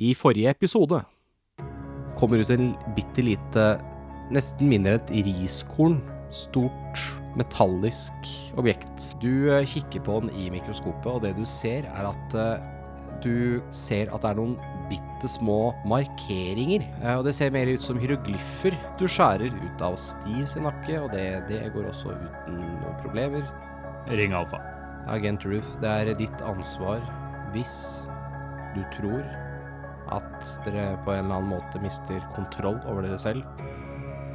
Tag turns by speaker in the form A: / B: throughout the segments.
A: I forrige episode
B: kommer ut en bitte lite Nesten mindre enn et riskorn. Stort, metallisk objekt. Du eh, kikker på den i mikroskopet, og det du ser, er at eh, du ser at det er noen bitte små markeringer. eh, Og det ser mer ut som hieroglyffer. Du skjærer ut av Steve sin nakke, og det, det går også uten noen problemer.
C: Ring Alfa.
B: Agent Ruth, det er ditt ansvar hvis du tror at dere på en eller annen måte mister kontroll over dere selv,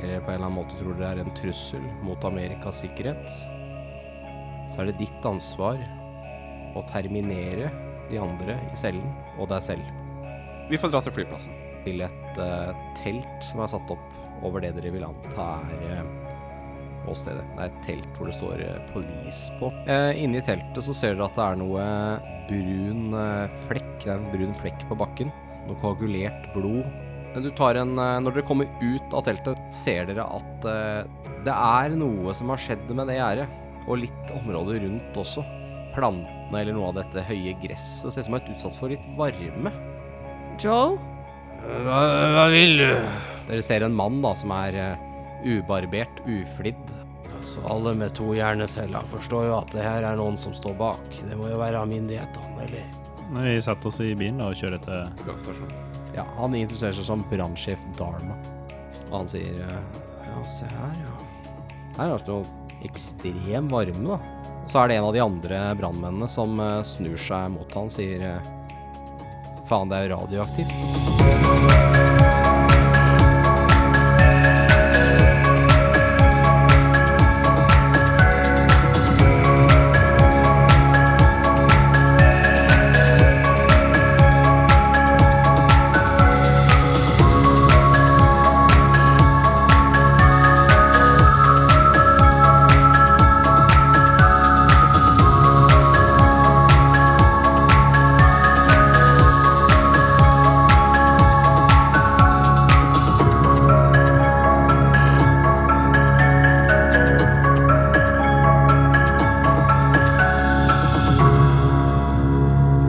B: eller på en eller annen måte tror dere er en trussel mot Amerikas sikkerhet, så er det ditt ansvar å terminere de andre i cellen og deg selv
D: Vi får dra til flyplassen.
B: til et eh, telt som er satt opp over det dere vil anta er eh, åstedet. Det er et telt hvor det står eh, 'police' på. Eh, inni teltet så ser dere at det er noe brun eh, flekk. Det er en brun flekk på bakken. Noe koagulert blod. Men Du tar en, eh, når dere kommer ut av teltet, ser dere at eh, det er noe som har skjedd med det gjerdet. Og litt området rundt også. Plantene eller noe av dette høye gresset ser ut som det har vært utsatt for litt varme.
E: Joe?
B: Hva, vil du? Dere ser en mann da, som er eh, ubarbert, uflidd. Altså, alle med to hjerneceller forstår jo at det her er noen som står bak. Det må jo være av myndighetene, eller?
C: Når vi satte oss i bilen da, og kjørte til
D: Brannstasjonen.
B: Ja, han interesserer seg som brannsjef Dharma. Og han sier eh, Ja, se her, ja. Her har det noe ekstrem varme, da. Og så er det en av de andre brannmennene som eh, snur seg mot han, sier eh, Faen, det er jo radioaktivt.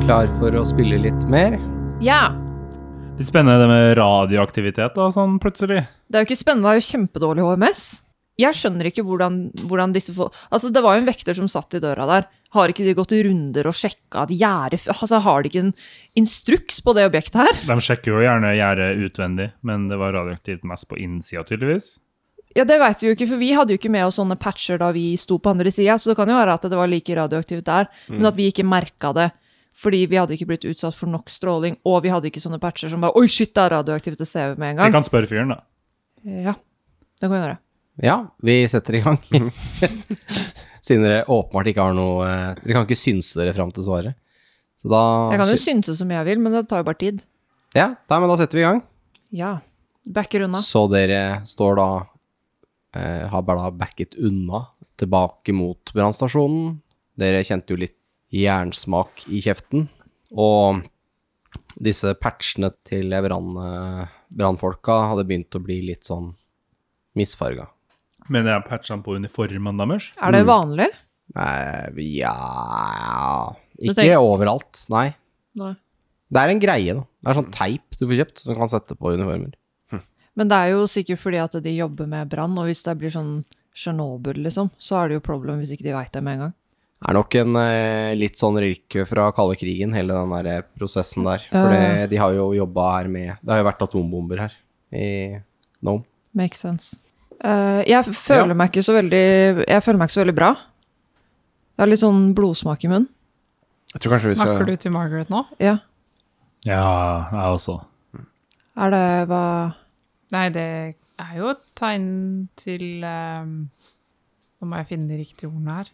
B: Klar for å spille litt mer?
E: Ja.
C: Litt spennende det med radioaktivitet da, sånn plutselig.
E: Det er jo ikke spennende, det er jo kjempedårlig HMS. Jeg skjønner ikke hvordan, hvordan disse folk Altså, det var jo en vekter som satt i døra der. Har ikke de gått i runder og sjekka at gjerdet f- Altså, har de ikke en instruks på det objektet her?
C: De sjekker jo gjerne gjerdet utvendig, men det var radioaktivt mest på innsida, tydeligvis.
E: Ja, det veit vi jo ikke, for vi hadde jo ikke med oss sånne patcher da vi sto på andre sida, så det kan jo være at det var like radioaktivt der, men at vi ikke merka det. Fordi vi hadde ikke blitt utsatt for nok stråling, og vi hadde ikke sånne patcher som bare Oi, shit, det er radioaktivt, det ser vi med en
C: Vi
E: gang.
C: kan spørre fyren, da.
E: Ja, det kan vi gjøre.
B: Ja, vi setter i gang. Siden dere åpenbart ikke har noe eh, Dere kan ikke synse dere fram til svaret. Så da
E: Jeg kan jo synse som jeg vil, men det tar jo bare tid.
B: Ja, nei, men da setter vi i gang.
E: Ja. Backer unna.
B: Så dere står da eh, Har bare da backet unna tilbake mot brannstasjonen. Dere kjente jo litt jernsmak i kjeften. Og disse patchene til brann- eh, brannfolka hadde begynt å bli litt sånn misfarga.
C: Men jeg patcha på uniformen deres.
E: Er
F: Mm.
E: det vanlig?
B: Nei, ja
E: Du
B: Ikke
E: tenker-
B: overalt, nei.
E: Nei.
B: Det er en greie, da. Det er sånn teip du får kjøpt som du kan sette på uniformer.
E: Men det er jo sikkert fordi at de jobber med brann, og hvis det blir sånn Tsjernobyl, liksom, så er det jo problem hvis ikke de veit det med en gang.
B: Det er nok en eh, litt sånn rylke fra kalde krigen, hele den der eh, prosessen der. For
E: Ja.
B: det, de har jo jobba her med Det har jo vært atombomber her i Nome.
E: Makes sense. Eh, jeg føler meg ikke så veldig Jeg føler meg ikke så veldig bra. Jeg har litt sånn blodsmak i munnen.
D: Jeg tror kanskje vi skal
F: Snakker du til Margaret nå?
E: Ja.
C: Ja, jeg også.
E: Er det hva
F: Nei, det er jo et tegn til ehm, Nå må jeg finne de riktige ordene her.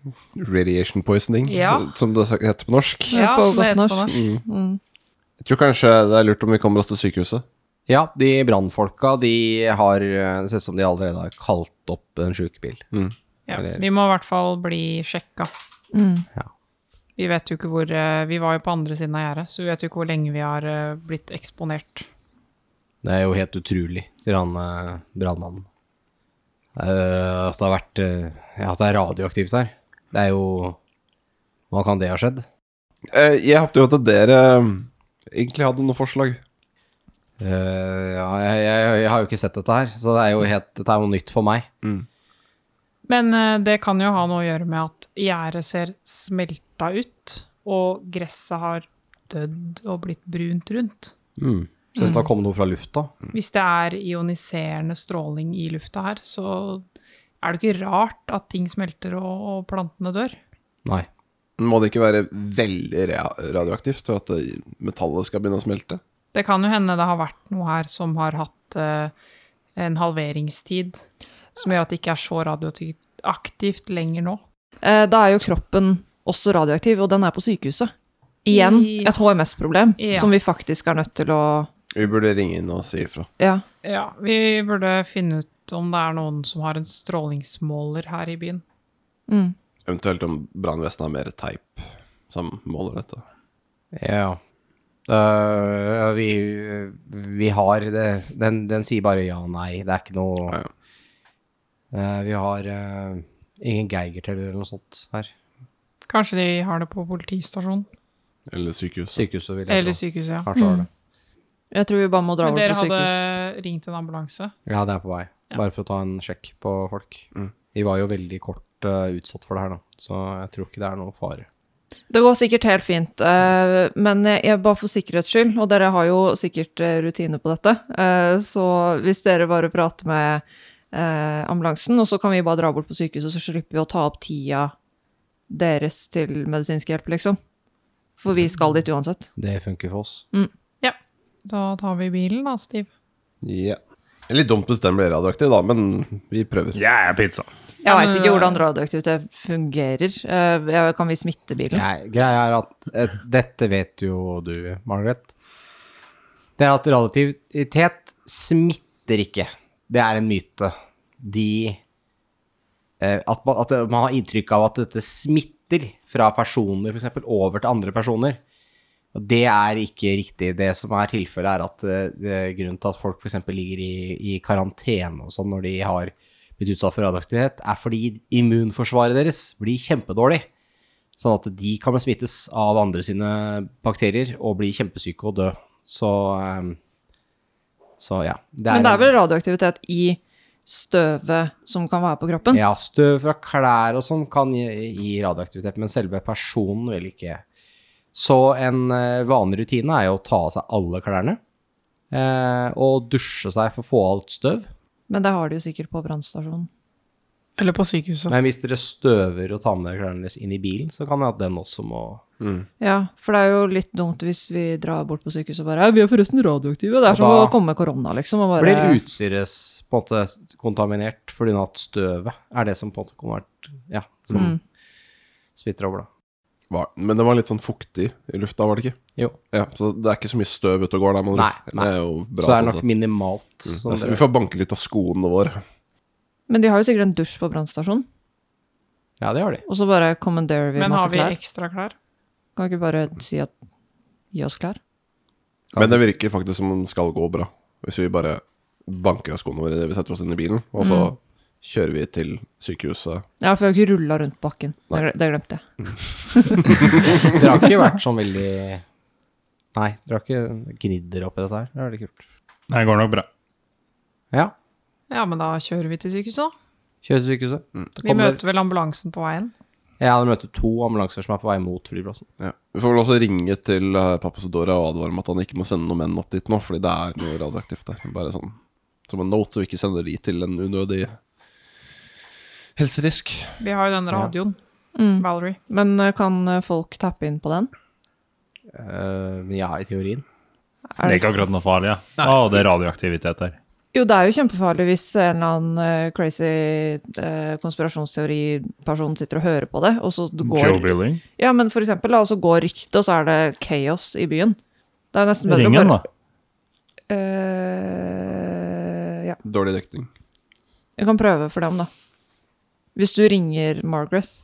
D: Radiation poisoning,
F: Ja.
D: som det heter på norsk.
E: Ja,
F: som
E: på
F: det heter
E: godt norsk.
D: Jeg tror kanskje det er lurt om vi kommer oss til sykehuset.
B: Ja, de brannfolka, de har eh, Det ser ut som de allerede har kalt opp en sjukebil.
F: Ja,
B: Eller-
F: vi må i hvert fall bli sjekka.
E: Mm.
B: Ja.
F: Vi vet jo ikke hvor eh, Vi var jo på andre siden av gjerdet, så vi vet jo ikke hvor lenge vi har eh, blitt eksponert.
B: Det er jo helt utrolig, sier han eh, brannmannen. Eh, at det har vært eh, ja, At det er radioaktivt her. Det er jo Hvordan kan det ha skjedd?
D: Eh, Jeg håpet jo at dere eh, egentlig um, hadde noen forslag.
B: Eh, ja, jeg, jeg, jeg har jo ikke sett dette her, så det er jo helt, dette er jo nytt for meg.
F: Men eh, det kan jo ha noe å gjøre med at gjerdet ser smelta ut, og gresset har dødd og blitt brunt rundt.
B: Så hvis det har kommet noe fra lufta
F: Hvis det er ioniserende stråling i lufta her, så er det ikke rart at ting smelter og, og plantene dør.
B: Nei.
D: Må det ikke være veldig ra- radioaktivt for at det- metallet skal begynne å smelte?
F: Det kan jo hende det har vært noe her som har hatt eh, en halveringstid, som gjør at det ikke er så radioaktivt lenger nå.
E: Eh, Da er jo kroppen også radioaktiv, og den er på sykehuset. Igjen
F: Ja.
E: et HMS-problem
F: Ja.
E: som vi faktisk er nødt til å
D: Vi burde ringe inn og si ifra.
E: Ja.
F: Ja, vi burde finne ut om det er noen som har en strålingsmåler her i byen.
E: Mm.
D: Eventuelt om brannvesenet har mer teip som måler dette.
B: Ja. Eh, vi, vi har det den, den sier bare ja og nei. Det er ikke noe
D: Ja, ja.
B: Eh, Vi har eh, ingen geigerteller eller noe sånt her.
F: Kanskje de har det på politistasjonen?
D: Eller sykehus.
B: Sykehuset vil jeg
F: Eller
B: tro.
F: sykehuset, ja.
B: Kanskje har det.
E: Jeg tror vi bare må dra
F: Men
E: over
F: dere
E: på
F: hadde
E: sykehus.
F: ringt en ambulanse?
B: Ja, det er på vei. Bare for å ta en sjekk på folk.
D: Mm.
B: De var jo veldig kort eh, utsatt for det her, da. Så jeg tror ikke det er noe fare.
E: Det går sikkert helt fint, eh, men jeg, jeg bare for sikkerhets skyld, og dere har jo sikkert eh, rutine på dette, eh, så hvis dere bare prater med eh, ambulansen, og så kan vi bare dra bort på sykehuset, så slipper vi å ta opp tida deres til medisinsk hjelp, liksom. For vi skal dit uansett.
B: Det funker for oss.
F: Da tar vi bilen da, Steve.
D: Ja. Det er litt dumt hvis den blir radioaktiv, da, men vi prøver.
C: Jeg er pizza.
E: Jeg
F: men-
E: veit ikke hvordan radioaktivitet fungerer. Eh, jeg- Kan vi smitte bilen?
B: Nei, greia er at eh, dette vet jo du, Margaret. Det er at radioaktivitet smitter ikke. Det er en myte. De eh, at, man, at man har inntrykk av at dette smitter fra personer, f.eks. over til andre personer. Og det er ikke riktig. Det som er tilfellet, er at eh, det, grunnen til at folk f.eks. ligger i, i karantene og sånn når de har blitt utsatt for radioaktivitet, er fordi immunforsvaret deres blir kjempedårlig. Sånn at de kan bli smittes av andre sine bakterier og bli kjempesyke og dø. Så, eh, så ja. Det
E: Men det er vel radioaktivitet i støvet som kan være på kroppen?
B: Ja, støv fra klær og sånn kan gi, gi radioaktivitet, men selve personen vil ikke. Så en eh, vanlig rutine er jo å ta av seg alle klærne eh, og dusje seg for å få alt støv.
E: Men det har de jo sikkert på brannstasjonen.
F: Eller på sykehuset.
B: Men hvis dere støver og tar med dere klærne deres inn i bilen, så kan det at den også må
E: Ja, for det er jo litt dumt hvis vi drar bort på sykehuset og bare «Ja, Vi er forresten radioaktive.
B: Og
E: Det er som
B: da
E: å komme med korona, liksom. Og bare,
B: Blir utstyret på en måte kontaminert fordi at støvet er det som på en måte kommer Ja, som
E: Mm.
B: smitter over, da.
D: Var- Men det var litt sånn fuktig i lufta, var det ikke?
B: Jo.
D: Ja, Så det er ikke så mye støv ute og går der. med andre
B: Nei,
D: ord.
B: nei.
D: Det er jo bra. Mm.
B: så det er
D: sånn
B: nok
D: sett.
B: minimalt.
D: Det
B: sånn
D: er så-
B: dere-
D: vi får banke litt av skoene våre.
E: Men de har jo sikkert en dusj på brannstasjonen,
B: ja, det har de.
E: og så bare commanderer vi
F: Men
E: masse
F: har vi
E: klær.
F: ekstra klær?
E: Kan vi ikke bare si at gi oss klær?
D: Men det virker faktisk som den skal gå bra. Hvis vi bare banker av skoene våre idet vi setter oss inn i bilen, og så
B: Mm.
D: kjører vi til sykehuset.
E: Ja, for vi har ikke rulla rundt bakken. Det gle- det glemte jeg.
B: Dere har ikke vært sånn veldig Nei, dere har ikke gnidder oppi dette her. Det er veldig kult.
C: Det går nok bra.
B: Ja.
F: Ja, men da kjører vi til sykehuset, da.
B: Kjør til sykehuset. Det
F: Mm. Vi
B: kommer,
F: møter vel ambulansen på veien.
B: ja, de møter to ambulanser som er på vei mot flyplassen.
D: Ja. Vi får vel også ringe til eh, pappa Sedora og advare om at han ikke må sende noen menn opp dit nå, fordi det er noe radioaktivt der. Bare sånn som en note, så vi ikke sender de til en unødig helserisk.
F: Vi har jo den radioen.
E: Mm.
F: Valerie.
E: Men eh, kan eh, folk tappe inn på den?
B: Eh, Men ja, i teorien.
C: Det er ikke akkurat noe farlig. Ja. Å, det er radioaktivitet her.
E: Jo, det er jo kjempefarlig hvis en eller annen eh, crazy eh, konspirasjonsteoriperson sitter og hører på det, og så
C: Joe
E: går
C: Billing.
E: Ja, men for eksempel, da, og så går ryktet, og så er det chaos i byen. Det er nesten bedre å
C: Ringen,
E: bare
C: da.
E: Eh, ja.
D: Dårlig dekning.
E: Jeg kan prøve for dem, da. Hvis du ringer Margaret.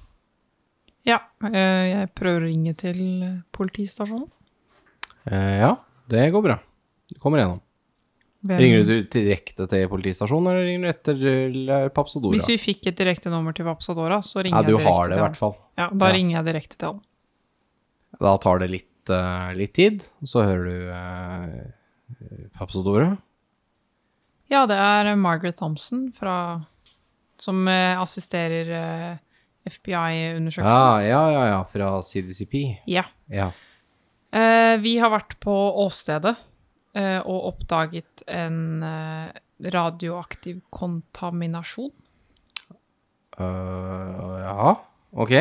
F: Ja, eh, jeg prøver å ringe til eh, politistasjonen.
B: Eh, ja, det går bra. Du kommer gjennom.
F: Hvem-
B: Ringer du direkte til politistasjonen, eller ringer du etter til eh, Papsadora?
F: Hvis vi fikk et direkte nummer til Vapsadora, så ringer
B: Ja, du
F: jeg direkte
B: har det
F: til
B: i
F: han.
B: hvert fall.
F: Ja, da
B: Ja.
F: ringer jeg direkte til han.
B: Da tar det litt, eh, litt tid, og så hører du uh, Papsodora?
F: Ja, det er eh, Margaret Thompson fra, som eh, assisterer eh, FBI-undersøkelsen.
B: Ja, ja, ja, ja, fra CDCP.
F: Ja.
B: Ja.
F: Eh, vi har vært på åstedet eh, og oppdaget en eh, radioaktiv kontaminasjon.
B: Øh, Eh, ja, ok.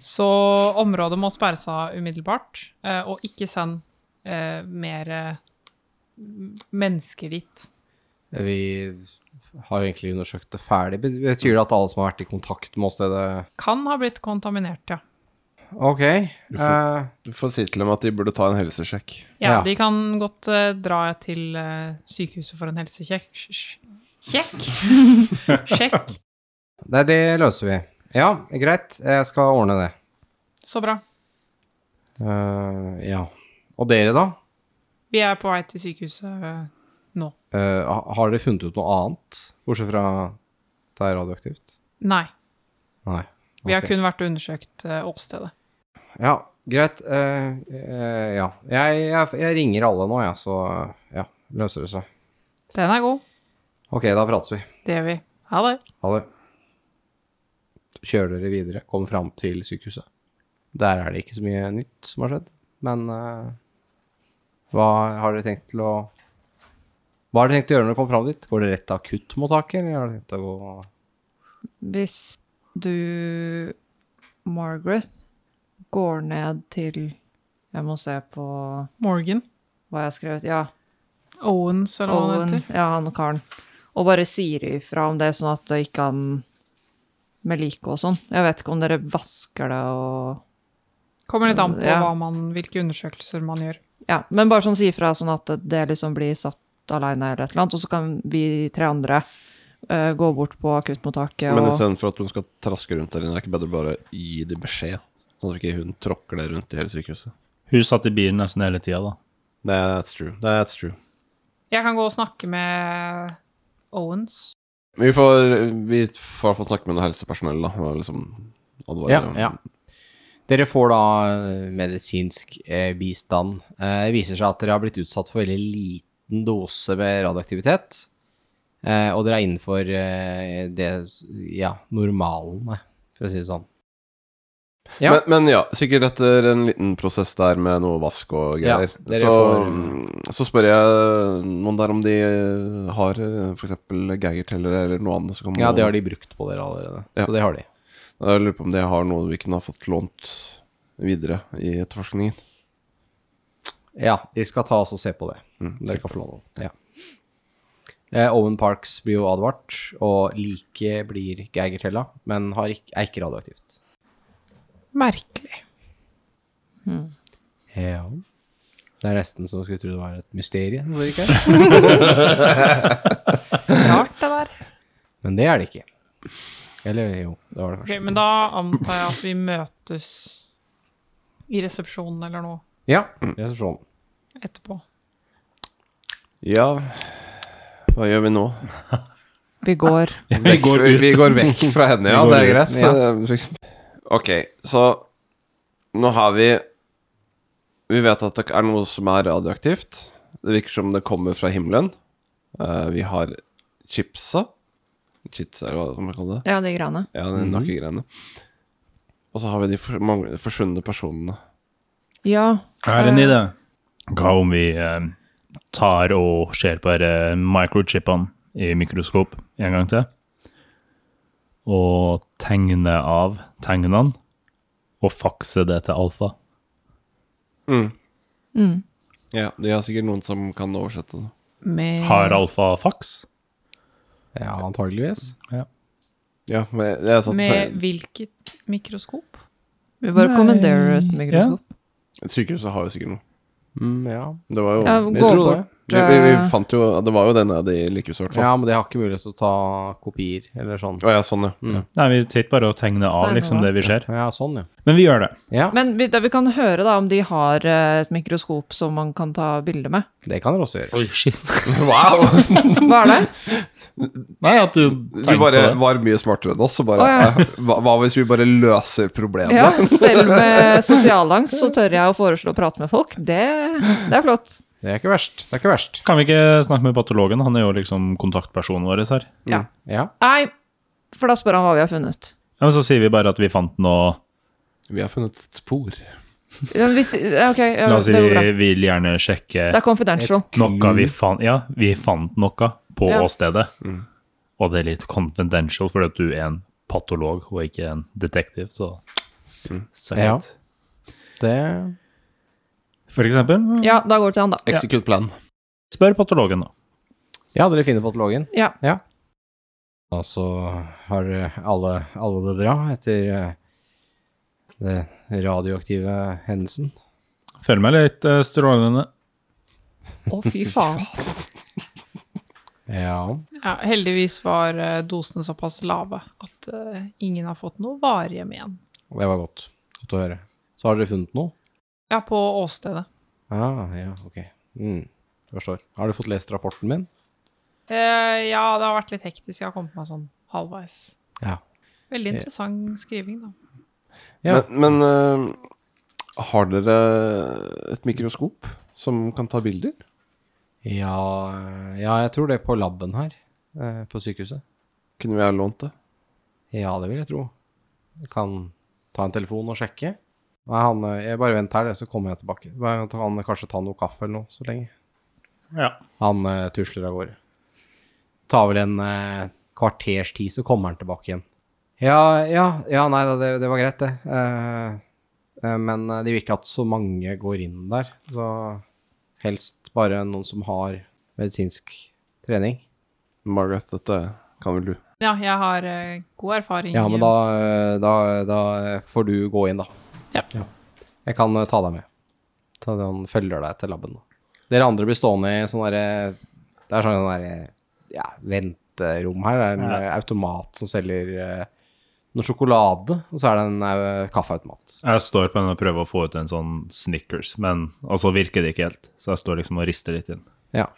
F: Så området må sperres av umiddelbart, eh, og ikke send eh, mer eh, mennesker dit.
B: Vi har jo egentlig undersøkt det ferdig. Betyr det at alle som har vært i kontakt med åstedet
F: Kan ha blitt kontaminert, ja.
B: Ok.
D: får-
B: eh,
D: Du får si til dem at de burde ta en helsesjekk.
F: Ja,
B: Ja.
F: de kan godt eh, dra til eh, sykehuset for en helsekjekk. Sj- sj- Sjekk! Sjekk.
B: Nei, det løser vi. Ja, greit. Jeg skal ordne det.
F: Så bra.
B: Eh, ja. Og dere, da?
F: Vi er på vei til sykehuset eh, nå.
B: Eh, ha- har dere funnet ut noe annet, bortsett fra det er radioaktivt?
F: Nei,
B: Nei.
F: vi har
B: Ok.
F: kun vært og undersøkt eh, åstedet.
B: Ja, greit. Eh, eh, ja. Jeg, jeg, jeg ringer alle nå, jeg, ja, så ja, løser det seg.
F: Den er god.
B: Ok, da prates vi.
F: Det gjør vi. Ha det.
B: Ha det. Kjører dere videre, kommer fram til sykehuset. Der er det ikke så mye nytt som har skjedd, men eh, hva har dere tenkt til å Hva har dere tenkt å gjøre når dere kommer fram dit? Går dere rett til akuttmottaket, eller har dere tenkt å gå
E: Hvis du, Margaret, går ned til Jeg må se på
F: Morgan.
E: hva jeg har skrevet. Ja,
F: Owens, eller hva han
E: Owen.
F: heter.
E: Ja, han karen. Og bare sier ifra om det, sånn at det ikke han med like og sånn. Jeg vet ikke om dere vasker det og
F: Kommer litt an på
E: Ja.
F: hva man, hvilke undersøkelser man gjør.
E: Ja, men bare sånn si ifra sånn at det liksom blir satt aleine eller et eller annet, og så kan vi tre andre eh, gå bort på akuttmottaket
D: Men
E: og
D: istedenfor at hun skal traske rundt der inne, er det ikke bedre bare å gi de beskjed? Sånn at ikke hun tråkker det rundt i hele sykehuset.
C: Hun satt i bilen nesten hele tida, da.
D: That's true. That's true.
F: Jeg kan gå og snakke med Owens.
D: Vi får, vi får i hvert fall snakke med noe helsepersonell, da. Og liksom advare.
B: Ja, ja. Dere får da eh, medisinsk eh, bistand. Eh, det viser seg at dere har blitt utsatt for veldig liten dose med radioaktivitet. Eh, og dere er innenfor eh, det ja, normalen, for å si det sånn. Ja.
D: Men, men ja, sikkert etter en liten prosess der med noe vask og
B: Ja,
D: greier.
B: dere
D: så,
B: får-
D: mm, så spør jeg noen der om de eh, har f.eks. geigertellere eller noe annet. som kan-
B: Ja, det har de brukt på dere allerede.
D: Ja.
B: Så det har de.
D: Jeg lurer på om de har noe vi kunne ha fått lånt videre i etterforskningen.
B: Ja, de skal ta oss og se på Mm, det. Dere kan få lov. Ja. Eh, Owen Parks blir jo advart, og liket blir Geigertella, men har ikk- er ikke radioaktivt.
F: Merkelig.
B: Ja. Det er nesten som skulle tro det var et mysterium, hvorfor ikke?
F: Rart, det der.
B: Men det er det ikke. Eller jo, det var det
F: Ok,
B: kanskje.
F: men da antar jeg at vi møtes i resepsjonen eller noe
B: Ja, resepsjonen.
F: etterpå.
D: Ja, hva gjør vi nå?
E: vi går.
D: Vi går,
C: ut.
D: vi går vekk fra henne, ja.
C: Vi går
D: Det er
C: ut.
D: greit. Så- Ok, så nå har vi Vi vet at det er noe som er radioaktivt. Det virker som det kommer fra himmelen. Eh, vi har chipsa. Chitsa, eller hva man kaller det.
E: Ja, de greiene.
D: Ja, de nakkegreiene. Og så har vi de for, mange, de forsvunne personene.
E: Ja,
C: Jeg har en idé. Hva om vi eh, tar og ser på disse microchipene i mikroskop en gang til? Og tegner av tegnene, og fakser det til alfa.
D: Ja, De har sikkert noen som kan oversette det.
F: Med
C: Har alfa faks?
B: Ja, antageligvis.
D: Ja, men jeg satt
F: Med hvilket mikroskop?
E: vi bare
C: Nei,
E: kommanderer et mikroskop.
D: Sykehuset har jo sikkert noe.
B: Mm, ja.
D: Det var jo
E: Ja,
D: jeg
E: gå
D: tror det.
E: bort,
D: Vi, vi, vi
E: eh,
D: fant jo Det var jo den nede i likehuset, i hvert fall.
B: ja, men de har ikke mulighet til å ta kopier eller sånn.
D: Å ja, sånn, ja. ja.
C: Nei, vi sitter bare og tegner av
E: Tegner
C: liksom
E: av.
C: det vi ser.
B: Ja, sånn, ja.
C: Men vi gjør det.
B: Ja,
E: Men vi, det vi kan høre da om de har eh, et mikroskop som man kan ta bilde med.
B: det kan dere også gjøre.
C: Oi, shit.
D: Wow!
E: Hva er det?
C: Nei, at du
D: Du
C: tenker på
D: bare
C: det.
D: var mye smartere enn oss, og bare
E: Å, ja.
D: eh, hva, hva hvis vi bare løser problemet?
E: Ja, selv med sosialangst så tør jeg å foreslå å prate med folk. Det, det er flott.
B: Det er ikke verst. Det er ikke verst.
C: Kan vi ikke snakke med patologen? Han er jo liksom kontaktpersonen vår her.
E: Ja.
B: Ja.
E: Nei, for da spør han hva vi har funnet.
C: Ja, men så sier vi bare at vi fant noe
D: Vi har funnet et spor.
E: Ja, Hvis, ja, ok, ja,
C: La oss si
E: det går bra.
C: vi vil gjerne sjekke
E: Det er confidential.
C: noe vi fant Ja, vi fant noe på
E: Ja.
C: åstedet. Og det er litt confidential fordi at du er en patolog og ikke en detektiv, så Suck
B: Ja.
C: it.
B: Det
C: For eksempel,
E: Ja, da går det til han, da.
D: Execute plan.
C: spør patologen, da.
B: Ja, dere finner patologen.
E: Ja.
B: ja. Og så har alle, alle det bra etter eh, det radioaktive hendelsen.
C: Føler meg litt eh, strålende.
E: Å, fy faen.
B: Ja.
F: Ja, heldigvis var eh, dosene såpass lave at eh, ingen har fått noe varige men.
B: Det var godt. Godt å høre. Så har dere funnet noe?
F: Ja, på åstedet.
B: Ah, ja, ok. Mm. Forstår. Har du fått lest rapporten min?
F: Eh, ja, det har vært litt hektisk. Jeg har kommet meg sånn halvveis.
B: Ja.
F: Veldig interessant skriving, da.
B: Ja.
D: Men, men eh, har dere et mikroskop som kan ta bilder?
B: Ja, ja, jeg tror det er på labben her eh, på sykehuset.
D: Kunne vi ha lånt det?
B: Ja, det vil jeg tro. Jeg kan ta en telefon og sjekke. Nei, han, eh, jeg bare vent her, så kommer jeg tilbake. Bare Kan han kanskje ta noe kaffe eller noe så lenge?
C: Ja.
B: Han eh, tusler av gårde. Tar vel en eh, kvarters tid, så kommer han tilbake igjen. Ja, ja, ja, nei da, det, det var greit, det. Eh, eh, men eh, det er jo ikke at så mange går inn der, så helst bare noen som har medisinsk trening.
D: Margaret, dette kan vel du?
F: Ja, jeg har eh, god erfaring.
B: Ja, men da, eh, da, da får du gå inn, da.
F: Ja.
B: Jeg kan eh, ta deg med. Ta deg, han følger deg til labben. da. Dere andre blir stående i sånn derre Det er sånn derre ja, venterom her. Det er en eh, automat som selger eh, noe sjokolade, og så er det en eh, kaffeautomat.
C: Jeg står på den og prøver å få ut en sånn Snickers, men altså virker det ikke helt. Så jeg står liksom og rister litt inn.
B: Ja.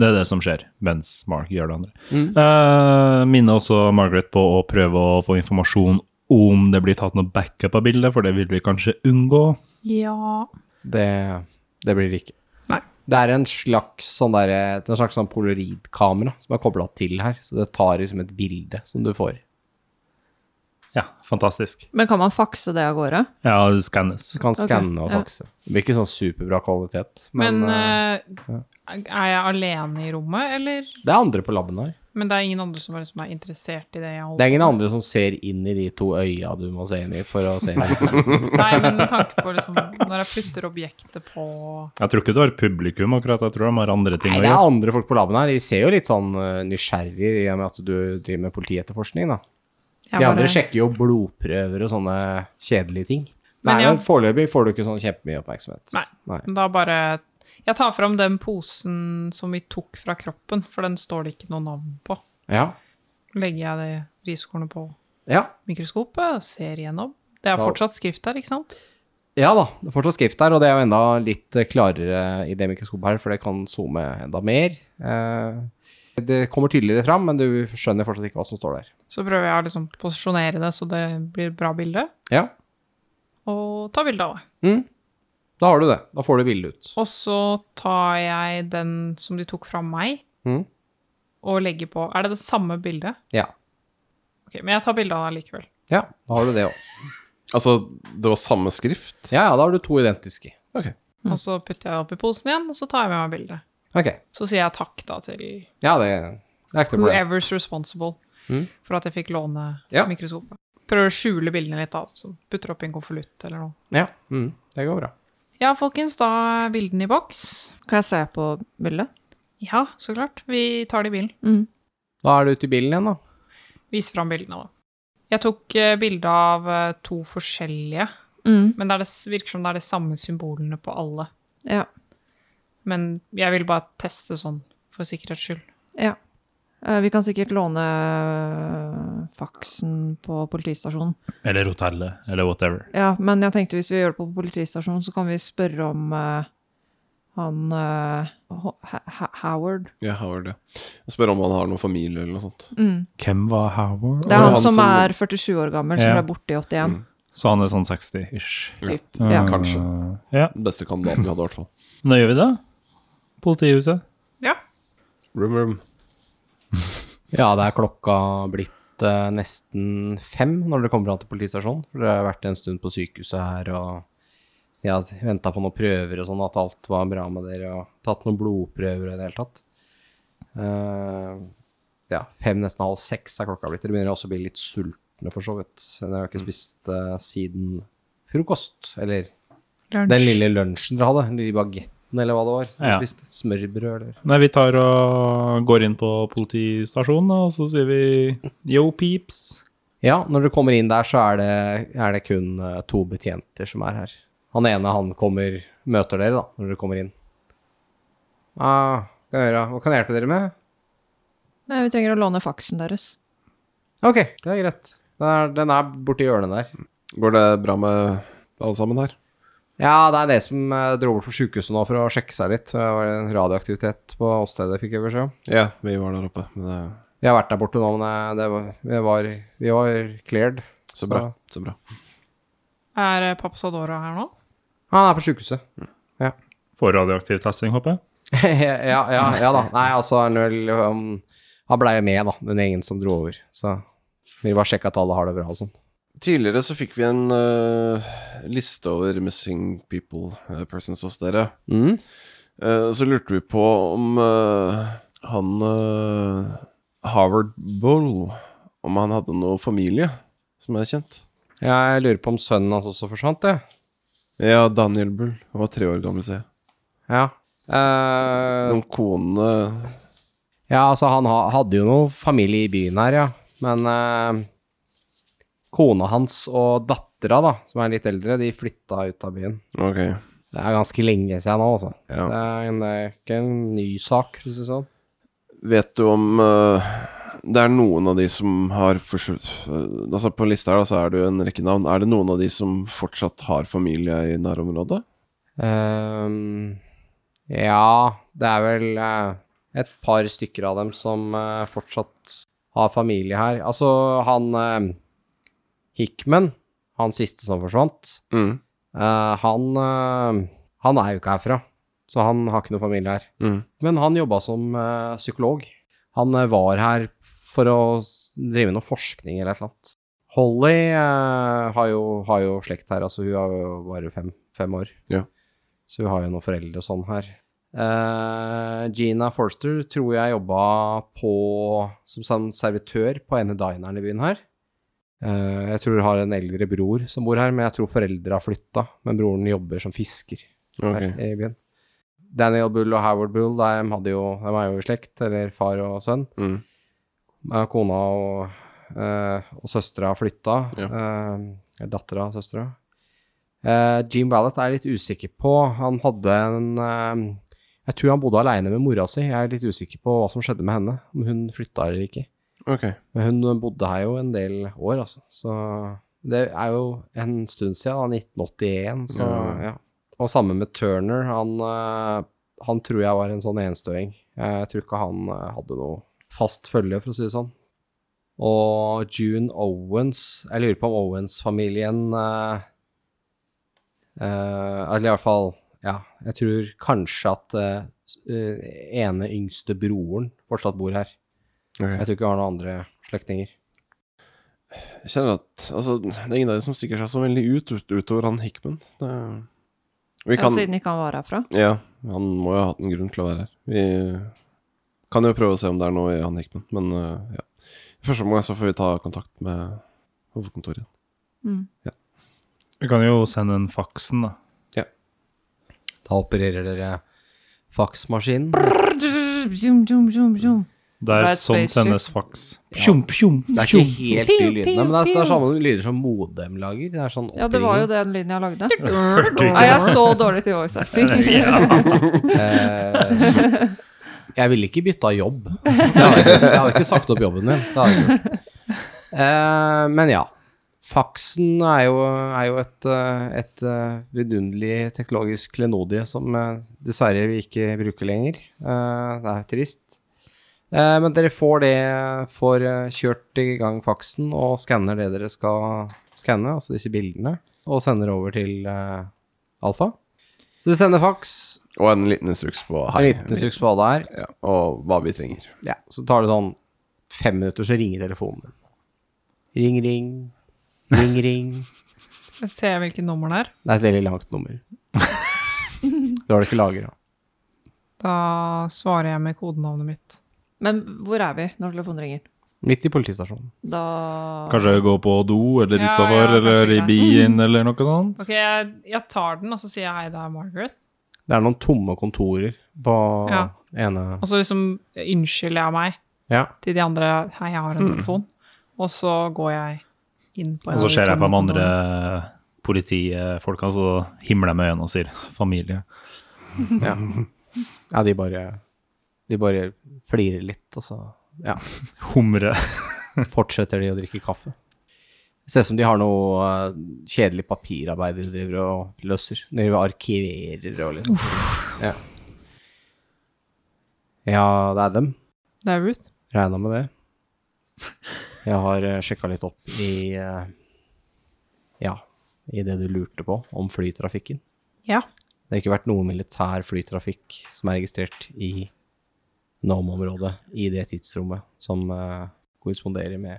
C: Det er det som skjer, mens Mark gjør det andre. Eh, minner også Margaret på å prøve å få informasjon om det blir tatt noe backup av bildet, for det vil vi kanskje unngå.
F: Ja.
B: Det, det blir det ikke.
F: Nei.
B: Det er en slags sånn derre det er en slags sånn polaroidkamera som er kobla til her, så det tar liksom et bilde som du får.
C: Ja, fantastisk.
E: Men kan man fakse det av gårde?
C: Ja, det skannes.
B: Du kan
E: Ok,
B: skanne og
E: ja.
B: fakse. Det blir ikke sånn superbra kvalitet, men,
F: Men
B: eh,
F: eh, er jeg alene i rommet, eller?
B: det er andre på laben her.
F: Men det er ingen andre som er, som er interessert i det jeg
B: Det
F: holder
B: er ingen andre som ser inn i de to øya du må se inn i for å se.
F: Nei, men med tanke på liksom, når jeg putter objektet på
C: Jeg tror ikke det var publikum akkurat, jeg tror de har andre ting
B: Nei,
C: å
B: det er
C: gjøre.
B: andre folk på laben her. De ser jo litt sånn eh, nysgjerrig i og med at du driver med politietterforskning, da.
F: jeg
B: De andre
F: bare-
B: sjekker jo blodprøver og sånne kjedelige ting. Nei,
F: Men ja.
B: men foreløpig får du ikke sånn kjempemye oppmerksomhet.
F: Nei. Da bare Jeg tar fram den posen som vi tok fra kroppen, for den står det ikke noe navn på.
B: Ja.
F: Legger jeg det riskornet på
B: ja.
F: mikroskopet og ser igjennom. Det er
B: Ja.
F: fortsatt skrift der, ikke sant?
B: Ja da, det er fortsatt skrift der, og det er jo enda litt eh, klarere i det mikroskopet her, for det kan zoome enda mer. Eh, Det kommer tydeligere fram, men du skjønner fortsatt ikke hva som står der.
F: Så prøver jeg å liksom posisjonere det så det blir et bra bilde,
B: Ja,
F: og ta bilde av det.
B: da har du det. Da får du bildet ut.
F: Og så tar jeg den som de tok fra meg,
B: Mhm.
F: og legger på Er det det samme bildet?
B: Ja,
F: Ok, Men jeg tar bilde av det likevel.
B: ja da har du det òg.
D: Altså, det var samme skrift?
B: Ja, ja, da har du to identiske.
D: Ok.
B: Mm.
F: Og så putter jeg det oppi posen igjen, og så tar jeg med meg bildet.
B: Ok.
F: Så sier jeg takk da til
B: Ja, det, det er ikke noe problem.
F: whoever's responsible for at jeg fikk låne
B: Ja.
F: mikroskopet. Prøver å skjule bildene litt, da. Så putter oppi en konvolutt eller noe.
B: Ja, mm, det går bra.
F: Ja, folkens, da er bildene i boks.
E: Kan jeg se på bildet?
F: Ja, så klart. Vi tar det i bilen.
E: Mm.
B: Da er du ute i bilen igjen, da.
F: Viser fram bildene, da. Jeg tok eh, bilde av eh, to forskjellige,
E: Mm.
F: men det er det, s- virker som det er de samme symbolene på alle.
E: Ja.
F: Men jeg vil bare teste sånn, for sikkerhets skyld.
E: ja. Eh, Vi kan sikkert låne eh, faksen på politistasjonen.
C: Eller hotellet, eller whatever.
E: Ja, men jeg tenkte hvis vi gjør det på politistasjonen, så kan vi spørre om eh, han eh, Ho- Ha- Ha- Howard.
D: Jeg har det. Jeg spør om han har noen familie eller noe sånt.
E: Mm.
C: Hvem var Howard?
E: Det er
D: Og
E: han
D: han
E: som
D: som-
E: er 47 år gammel, som
C: Ja.
E: ble borte i 81.
C: Så han er sånn 60-ish.
E: Typ. Ja.
D: Kanskje.
C: Ja,
D: Den beste kandidaten vi hadde, i hvert fall.
C: nå gjør vi det. Politihuset.
F: Ja.
D: Room, room.
B: Ja, det er klokka blitt eh, nesten fem når dere kommer an til politistasjonen. For dere har vært en stund på sykehuset her, og de har venta på noen prøver og sånn, at alt var bra med dere, og tatt noen blodprøver og i det hele tatt. Eh, ja, fem, nesten halv seks er klokka blitt. Dere begynner også å bli litt sultne, for så vidt. Dere har ikke spist eh, siden frokost, eller
F: Lunsj.
B: den lille lunsjen dere hadde, den lille bagetten eller hva det var. som dere
C: Ja.
B: spiste, Smørbrød eller
C: Nei, vi tar og går inn på politistasjonen, og så sier vi yo, peeps.
B: Ja, når dere kommer inn der, så er det, er det kun eh, to betjenter som er her. Han ene, han kommer, møter dere da, når dere kommer inn. Ah, hva kan jeg gjøre? Hva kan jeg hjelpe dere med?
E: Nei, vi trenger å låne faksen deres.
B: Ok, det er greit. Den er, den er borti hjørnet der.
D: Går det bra med alle sammen her?
B: Ja, det er det som eh, dro bort på sykehuset nå for å sjekke seg litt. for Det var en radioaktivitet på åstedet, fikk jeg beskjed om.
D: Ja, vi var der oppe. Men eh, det
B: Vi har vært der borte nå, men eh, det var, vi, var, vi var cleared.
D: så bra. Så bra.
F: Er eh, Papsadora her nå?
B: Han er på sykehuset.
C: For radioaktiv testing, håper jeg.
B: ja, ja, ja da. Nei, altså han vel, um, Han blei med, da, den gjengen som dro over. Så vi bare sjekke at alle har det bra og sånn.
D: Tidligere så fikk vi en øh, liste over missing people øh, persons hos dere.
B: Mm.
D: Eh, så lurte vi på om øh, han øh, Harvard Bull Om han hadde noe familie som er kjent.
B: Jeg lurer på om sønnen hans også forsvant, jeg.
D: Ja, Daniel Bull. Han var tre år gammel, ser jeg.
B: Ja. Eh,
D: Noen kone
B: ja, altså, han ha, hadde jo noe familie i byen her, ja. Men eh, kona hans og dattera, da, som er litt eldre, de flytta ut av byen.
D: Ok.
B: Det er ganske lenge siden nå, altså.
D: Ja.
B: Det, er, en- det er ikke en ny sak, for å si det sånn.
D: Vet du om eh, det er noen av de som har forsvunnet Altså På lista her da, så er det jo en rekke navn. Er det noen av de som fortsatt har familie i nærområdet?
B: Ehm, ja, det er vel eh, et par stykker av dem som eh, fortsatt har familie her. Altså, han eh, Hickman, han siste som forsvant,
D: Mm.
B: eh, han, eh, han er jo ikke herfra, så han har ikke noe familie her.
D: Mm.
B: Men han jobba som eh, psykolog. Han eh, var her for å s- drive noe forskning eller et eller annet. Holly eh, har, jo, har jo slekt her, altså hun er jo bare fem, fem år.
D: Ja.
B: Så hun har jo noen foreldre og sånn her. Eh, Gina Forster tror jeg jobba på som sam- servitør på en av dinerne i byen her. Eh, jeg tror hun har en eldre bror som bor her, men jeg tror foreldra har flytta. Men broren jobber som fisker
D: Ok.
B: her i byen. Daniel Bull og Howard Bull de, hadde jo, de er jo i slekt, eller far og sønn.
D: Mm.
B: Eh, Kona og, eh, og søstera flytta.
D: Ja.
B: Eh, Dattera og søstera. Eh, Jim Ballett er jeg litt usikker på. Han hadde en eh, Jeg tror han bodde aleine med mora si. Jeg er litt usikker på hva som skjedde med henne. Om hun flytta eller ikke.
D: Ok.
B: Men hun bodde her jo en del år, altså. Så det er jo en stund siden, da, 1981, så
D: Ja.
B: ja. Og sammen med Turner, han, eh, han tror jeg var en sånn enstøing. Jeg tror ikke han eh, hadde noe fast følge, for å si det sånn. Og June Owens, jeg lurer på om Owens-familien eh, eh, Eller i hvert fall, ja, jeg tror kanskje at eh, s- eh, ene yngste broren fortsatt bor her.
D: ok.
B: Jeg tror ikke jeg har noen andre slektninger.
D: Jeg kjenner at altså, det er ingen av de som stikker seg så veldig ut ut- utover han Hickman. Det, vi
E: Ja,
D: kan
E: Eh, siden ikke han var herfra.
D: Ja, han må jo ha hatt en grunn til å være her. Vi kan jo prøve å se om det er noe i han Hickman, men eh, ja. I første omgang så får vi ta kontakt med hovedkontoret igjen.
C: Vi kan jo sende en faksen, da.
B: Da opererer dere faksmaskinen.
E: Zoom, zoom, zoom, zoom.
C: Der
E: Det er et
C: sånn
E: spaceship.
C: sendes faks. Pjom, pjom,
B: Det er
C: pjom.
B: ikke helt de
E: Pew,
B: lydene, men det er,
E: pew,
B: det er
E: pew.
B: sånne lyder som modem lager. Det er sånn
E: Ja, det var jo
B: oppringning.
E: den lyden jeg lagde.
C: Hørte du
E: Nei, jeg er
C: ikke?
E: så dårlig til voice-acting.
B: Eh, jeg ville ikke bytta jobb. Jeg hadde ikke, jeg hadde ikke sagt opp jobben min. Det hadde jeg ikke gjort. Eh, men ja. Faksen er jo, er jo et, eh, et eh, vidunderlig teknologisk klenodie som eh, dessverre vi ikke bruker lenger. Eh, det er trist. Eh, men dere får det får eh, kjørt i gang faksen og skanner det dere skal skanne, altså disse bildene, og sender over til eh, Alfa. Så du sender fax,
D: Og en liten instruks på
B: en
D: hei.
B: liten suks på hva det er,
D: Ja, og hva vi trenger.
B: ja. så tar det sånn fem minutter, så ringer telefonen din. Ring, ring. Ring, ring.
F: Ser jeg hvilket nummer det er?
B: Det er et veldig langt nummer. Du har det ikke lagra.
F: Da svarer jeg med kodenavnet mitt.
E: Men hvor er vi når telefonen ringer?
B: Midt i politistasjonen.
E: Da
C: Kanskje gå på do, eller
F: Ja,
C: utafor,
F: ja,
C: eller
F: kanskje
C: i
F: ikke.
C: byen, eller noe sånt.
F: Ok, jeg, jeg tar den, og så sier jeg hei, det er Margaret.
B: Det er noen tomme kontorer på
F: Ja.
B: ene
F: Og så liksom unnskylder jeg meg
B: Ja.
F: til de andre hei, jeg har en telefon. Og så går jeg inn på en
C: Mm. Og så
F: av de
C: ser jeg på de
F: tomme
C: andre
F: kontorene.
C: politifolka, så himler jeg med øynene og sier 'familie'.
B: Ja, ja de bare De bare flirer litt, og så ja,
C: Humre.
B: fortsetter de å drikke kaffe. Det ser ut som de har noe eh, kjedelig papirarbeid de driver og løser. De driver og arkiverer og liksom ja. ja, det er dem.
F: Det er Ruth.
B: Regna med det. Jeg har uh, sjekka litt opp i eh, Ja, i det du lurte på om flytrafikken.
F: Ja.
B: Det har ikke vært noe militær flytrafikk som er registrert i Nome-området i det tidsrommet som eh, korresponderer med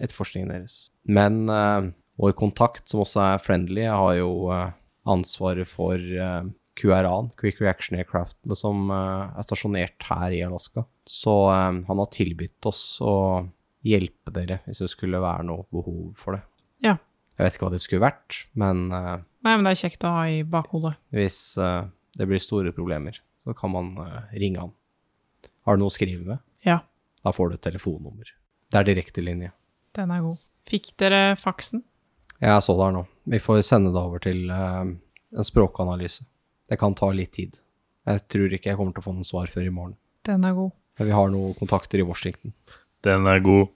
B: etterforskningen deres. Men eh, vår kontakt, som også er friendly, har jo eh, ansvaret for eh, QRA-en, Quick Reaction Aircraftene, som eh, er stasjonert her i Alaska. Så eh, han har tilbudt oss å hjelpe dere hvis det skulle være noe behov for det.
F: Ja.
B: Jeg vet ikke hva det skulle vært, men eh,
F: Nei, men det er kjekt å ha i bakhodet.
B: hvis eh, det blir store problemer, så kan man eh, ringe han. Har du noe å skrive med?
F: Ja,
B: Da får du et telefonnummer. Det er direktelinje.
F: den er god. Fikk dere faksen?
B: Jeg så det her nå. Vi får sende det over til eh, en språkanalyse. Det kan ta litt tid. Jeg tror ikke jeg kommer til å få noen svar før i morgen.
F: Den er god.
B: Men vi har noen kontakter i Washington.
C: Den er god.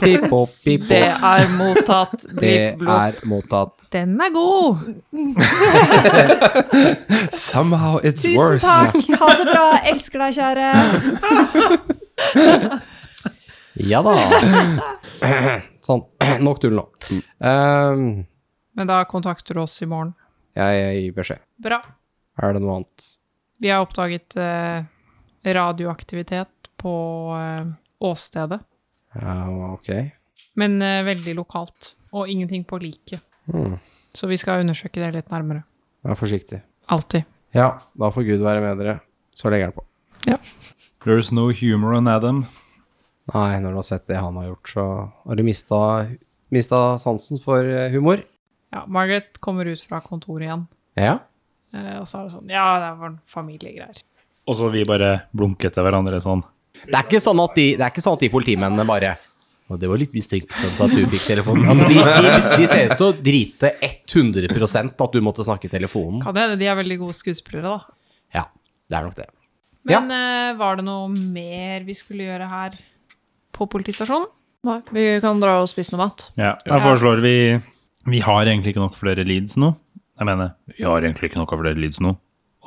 B: Pip opp, pip
E: Det
B: opp.
E: er mottatt.
B: Det
E: Blipp, blopp.
B: er mottatt.
F: Den er god!
D: Somehow it's
A: Tusen
D: worse.
A: takk. Ha det bra. Elsker deg, kjære.
B: Ja da. Sånn. Nok tull nå. Eh,
F: Men da kontakter du oss i morgen.
B: jeg gir beskjed.
F: Bra.
B: Er det noe annet?
F: Vi har oppdaget eh, radioaktivitet på eh, åstedet,
B: Ja, ok.
F: men eh, veldig lokalt. Og ingenting på liket.
B: Hmm.
F: Så vi skal undersøke det litt nærmere.
B: Vær forsiktig.
F: Alltid.
B: Ja, da får Gud være med dere. Så legger han på.
C: There's no humor in Adam.
B: Nei, når du har sett det han har gjort, så har du mista, mista sansen for eh, humor.
F: Ja, Margaret kommer ut fra kontoret igjen,
B: Ja.
F: eh, og så er det sånn Ja, det var familiegreier.
C: Og så vi bare blunket til hverandre sånn.
B: Det er ikke sånn at de, det er ikke sånn at de politimennene bare og det var litt mistenksomt at du fikk telefonen. Altså, de, de, de ser ut til å drite 100 at du måtte snakke i telefonen.
F: Kan det hende de er veldig gode skuespillere, da.
B: Ja, det er nok det.
F: Men eh, var det noe mer vi skulle gjøre her på politistasjonen?
E: Nei, Vi kan dra og spise noe mat.
C: Ja, jeg foreslår vi Vi har egentlig ikke nok flere leads nå. Jeg mener, vi har egentlig ikke nok av flere leads nå.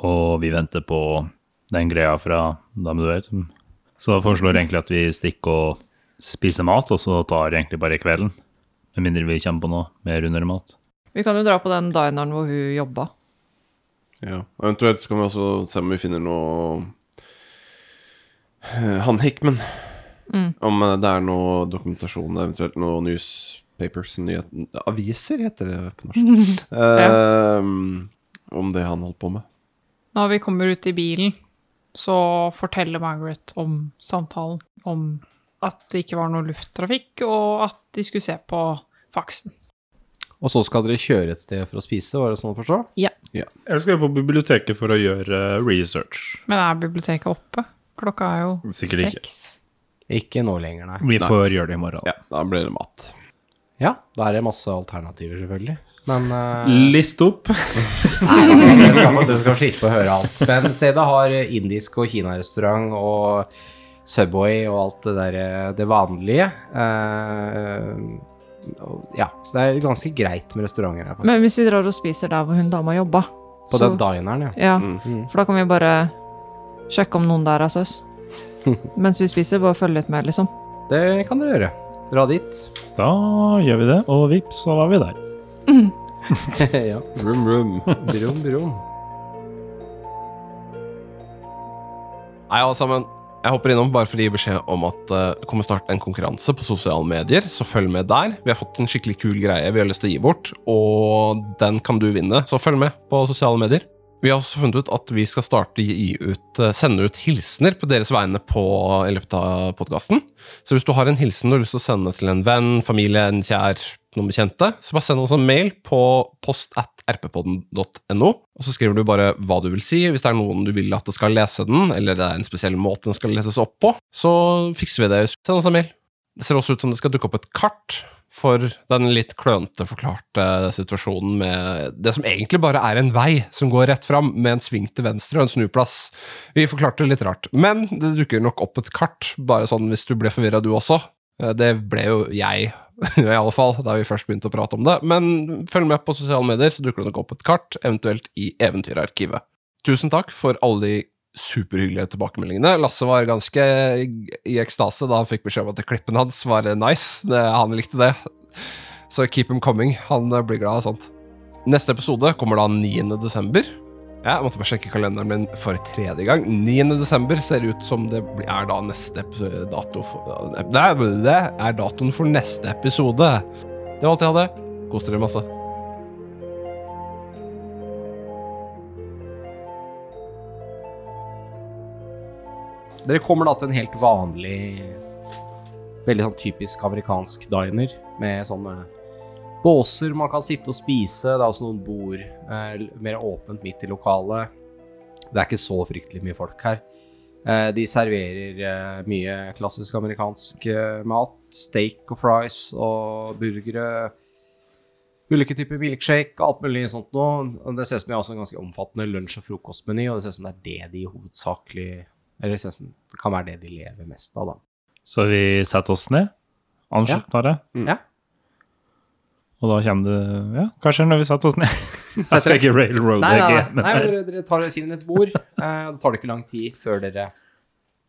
C: Og vi venter på den greia fra Dame du vet. Så jeg foreslår egentlig at vi stikker og spiser mat, og så tar egentlig bare kvelden. Med mindre vi kommer på noe mer under mat.
E: Vi kan jo dra på den dineren hvor hun jobba.
D: Ja. Eventuelt så kan vi også se om vi finner noe eh, Han Hickman.
A: Mm.
D: Om eh, det er noe dokumentasjon, eventuelt noe newspapers nyhet, Aviser, heter det på norsk. Eh, om det han holdt på med.
F: Når vi kommer ut i bilen, så forteller Margaret om samtalen. Om at det ikke var noe lufttrafikk, og at de skulle se på faksen.
B: Og så skal dere kjøre et sted for å spise, var det sånn å forstå?
C: Jeg skal på biblioteket for å gjøre eh, research.
F: Men er biblioteket oppe? Klokka er jo
C: Sikkert ikke.
F: seks.
B: Ikke nå lenger, nei.
C: Vi får gjøre det i morgen.
D: Ja, da blir det mat.
B: Ja, da er det masse alternativer, selvfølgelig. Men eh,
C: List opp.
B: Nei, dere skal, dere skal slippe å høre alt. Men stedet har indisk og kinarestaurant og Subway og alt det der det vanlige. Eh, og ja, så det er ganske greit med restauranter her.
E: Men hvis vi drar og spiser der hvor hun dama jobba,
B: På
E: så-
B: den dineren, ja.
E: ja,
B: Mm.
E: for da kan vi bare sjekke om noen der er søs. Mens vi spiser, bare følge litt med, liksom.
B: Det kan dere gjøre. Dra dit.
C: Da gjør vi det, og vips, så var vi der.
D: ja.
G: Vroom, vroom.
D: Brum, brum. Hei, alle sammen. Jeg hopper innom bare for å gi beskjed om at eh, det kommer snart en konkurranse på sosiale medier, så følg med der. Vi har fått en skikkelig kul greie vi har lyst til å gi bort, og den kan du vinne, så følg med på sosiale medier. Vi har også funnet ut at vi skal starte å gi ut, eh, sende ut hilsener på deres vegne på, i løpet av podkasten. Så hvis du har en hilsen du har lyst til å sende til en venn, familie, en kjær, noen bekjente, så bare send oss en mail på post at rppodden.no, og så skriver du bare hva du vil si. Hvis det er noen du vil at det skal lese den, eller det er en spesiell måte den skal leses opp på, så fikser vi det. Send oss en mail. Det ser også ut som det skal dukke opp et kart for den litt klønete forklarte situasjonen med det som egentlig bare er en vei som går rett fram, med en sving til venstre og en snuplass. Vi forklarte det litt rart, men det dukker nok opp et kart, bare sånn hvis du ble forvirra du også. Eh, Det ble jo jeg, i alle fall, da vi først begynte å prate om det. Men følg med på sosiale medier, så dukker det nok opp et kart, eventuelt i Eventyrarkivet. Tusen takk for alle de superhyggelige tilbakemeldingene. Lasse var ganske i ekstase da han fikk beskjed om at klippen hans var nice. Det, han likte det. Så keep him coming. Han eh, blir glad av sånt. Neste episode kommer da 9. desember. Ja, jeg måtte bare sjekke kalenderen min for tredje gang. 9. desember ser ut som det blir- er da neste episode, dato for, Nei, det er datoen for neste episode. Det var alt jeg hadde. Kos dere masse. Dere kommer da til en helt vanlig, veldig sånn typisk amerikansk diner med sånne båser man kan sitte og spise. Det er også noen bord eh, mer åpent midt i lokalet. Det er ikke så fryktelig mye folk her. Eh, de serverer eh, mye klassisk amerikansk eh, mat. Steak og fries og burgere. Ulike typer milkshake og alt mulig sånt noe. Og Det ser ut som de har også en ganske omfattende lunsj- og frokostmeny, og det ser ut som det er det de hovedsakelig Eller det ser ut som det kan være det de lever mest av, da.
C: Så vi setter oss ned, anslutnare.
D: Mm. Ja.
C: Og da kommer det Ja, hva skjer når vi setter oss ned? Jeg skal ikke railroad
B: Nei, nei,
C: deg,
B: nei.
C: men
B: nei men dere, dere tar, finner et bord. Eh, det tar det ikke lang tid før dere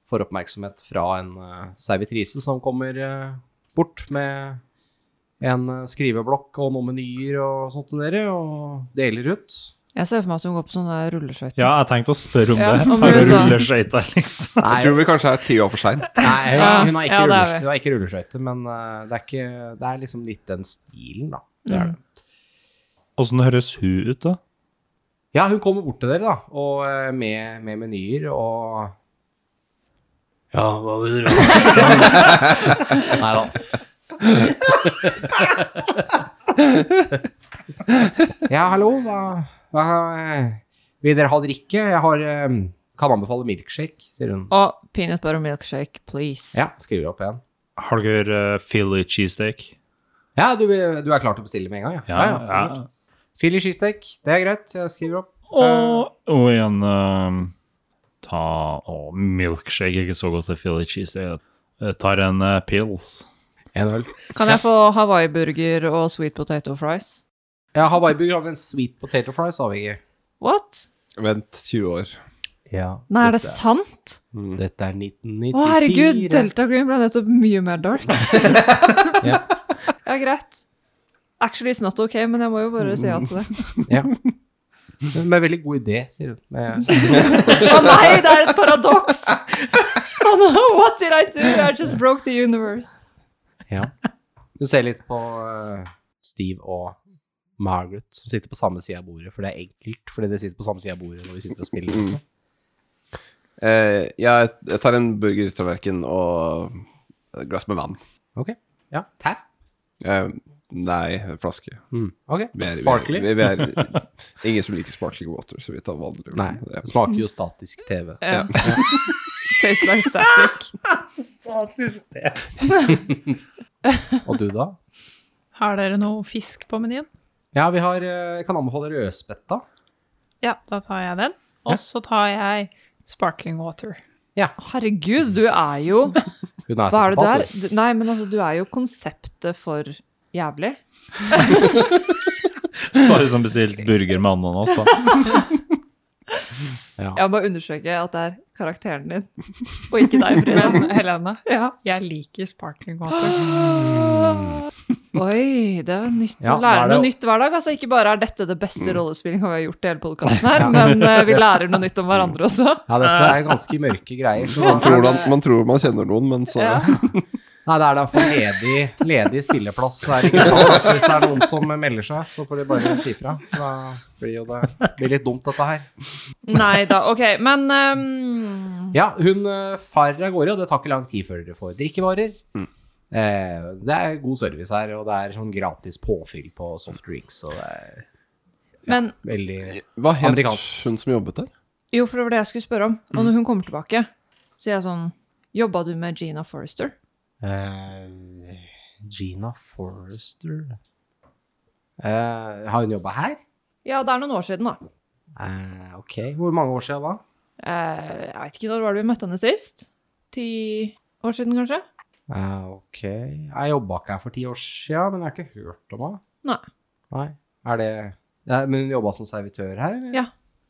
B: får oppmerksomhet fra en eh, servitrise som kommer eh, bort med en eh, skriveblokk og noen menyer og sånt til dere, og deler ut.
E: Jeg ser for meg at hun går på sånne rulleskøyter.
C: Ja, jeg tenkte å spørre om
E: Ja,
C: det.
E: om
C: Har du
E: USA.
C: rulleskøyter, liksom?
B: Nei,
G: Jeg tror vi kanskje er ti år for sein.
B: nei hun,
E: Ja,
B: hun har ikke,
E: ja, det er
B: rulles-
E: vi.
B: hun har ikke rulleskøyter, men eh, det, er ikke, det er liksom litt den stilen,
E: Mm.
B: da. Det er det.
C: Åssen høres hun ut, da?
B: Ja, hun kommer bort til dere, da, og eh, med, med menyer og
H: Ja, hva vil dere ha?
B: Nei da. ja, hallo. Hva, hva eh, Vil dere ha drikke? Jeg har eh, Kan anbefale milkshake, sier hun.
E: Og peanut butter milkshake, please.
B: Ja, skriver opp igjen.
C: Har dere eh, Philly cheesesteak?
B: Ja, du, du er klar til å bestille med en gang? Ja, absolutt. Philly cheesesteak, det er greit. Jeg skriver opp.
C: Og, Eh, og igjen ehm, ta å, milkshake. Ikke så godt til Philly cheese. Jeg eh, tar en eh, pils.
B: En øl.
E: Kan jeg få hawaiiburger og sweet potato fries?
B: Ja, Hawaii-burger har vi en sweet potato fries, har vi ikke?
E: What?
G: Vent 20 år.
B: Ja.
E: Nei, er det sant?
B: Dette er 1994.
E: Å, herregud, Delta Green ble nettopp mye mer dark.
B: Ja.
E: Ja, greit. Actually, it's not okay, men jeg må jo bare si ja til det.
B: Ja. Med veldig god idé, sier hun. Med,
E: Å nei, det er et paradoks! Oh, no, what did I do? I just broke the universe.
B: Ja. Du ser litt på eh, Steve og Margaret som sitter på samme side av bordet, for det er enkelt fordi de sitter på samme side av bordet når vi sitter og spiller
G: Mm.
B: også.
G: Eh, jeg, jeg tar en burgertallerken og et glass med vann.
B: Ok. Ja. Tap.
G: Eh, nei, flaske. Vi
B: Ok.
G: er- vi er-
B: Sparkly.
G: Vi, vi er ingen som liker sparkling water, så vi tar vanlig.
B: Nei.
G: Det
B: Det smaker jo statisk TV.
E: Ja. Tastes like static.
B: Og du, da?
F: Har dere noe fisk på menyen?
B: Ja, vi har eh, Jeg kan anbefale rødspetta.
F: Ja, da tar jeg den. Og så tar jeg sparkling water.
E: Herregud, du er jo
B: Hun er
E: Altså, Hva er det du er?
B: psykopat,
E: Du, nei, men altså, du er jo konseptet for jævlig.
C: Så har du som bestilt burger med ananas, da.
E: Jeg må bare understreke at det er karakteren din, og ikke deg, Frida.
F: Men Helene,
E: Ja.
F: jeg liker sparkling water.
E: Oi, det er nytt.
B: Ja, nå er
E: lærer
B: det- Mm.
E: noe nytt hver dag. Altså, ikke bare er dette det beste rollespillinga vi har gjort i hele podkasten her, men eh, vi lærer noe nytt om hverandre også.
B: Ja, dette er ganske mørke greier. Så
D: Man tror, man, man tror man kjenner noen, men så
E: Ja.
B: Nei, det er derfor ledig, ledig spilleplass er ikke bra. Altså, hvis det er noen som melder seg, så får de bare si fra. Da blir jo det blir litt dumt, dette her.
E: Nei da, ok. Men ehm,
B: Ja, hun eh, farer av gårde, og det tar ikke lang tid før dere får drikkevarer. Eh, det er god service her, og det er sånn gratis påfyll på soft drinks, og det er
E: men
B: veldig
D: Hva het
B: Amerikansk.
D: hun som jobbet der?
E: Jo, for det var det jeg skulle spørre om.
B: Mm.
E: Og når hun kommer tilbake, så er jeg sånn Jobba du med Gina Forrester?
B: eh, Gina Forrester eh, Har hun jobba her?
E: Ja, det er noen år siden, da.
B: Eh, ok, hvor mange år siden da?
E: Eh, jeg veit ikke når var det vi møtte henne sist? Ti år siden, kanskje?
B: Eh, ok. Jeg jobba ikke her for ti år siden, men jeg har ikke hørt om henne.
E: Nei.
B: Nei. Er det Nei, Men hun jobba som servitør her, eller?
E: Ja.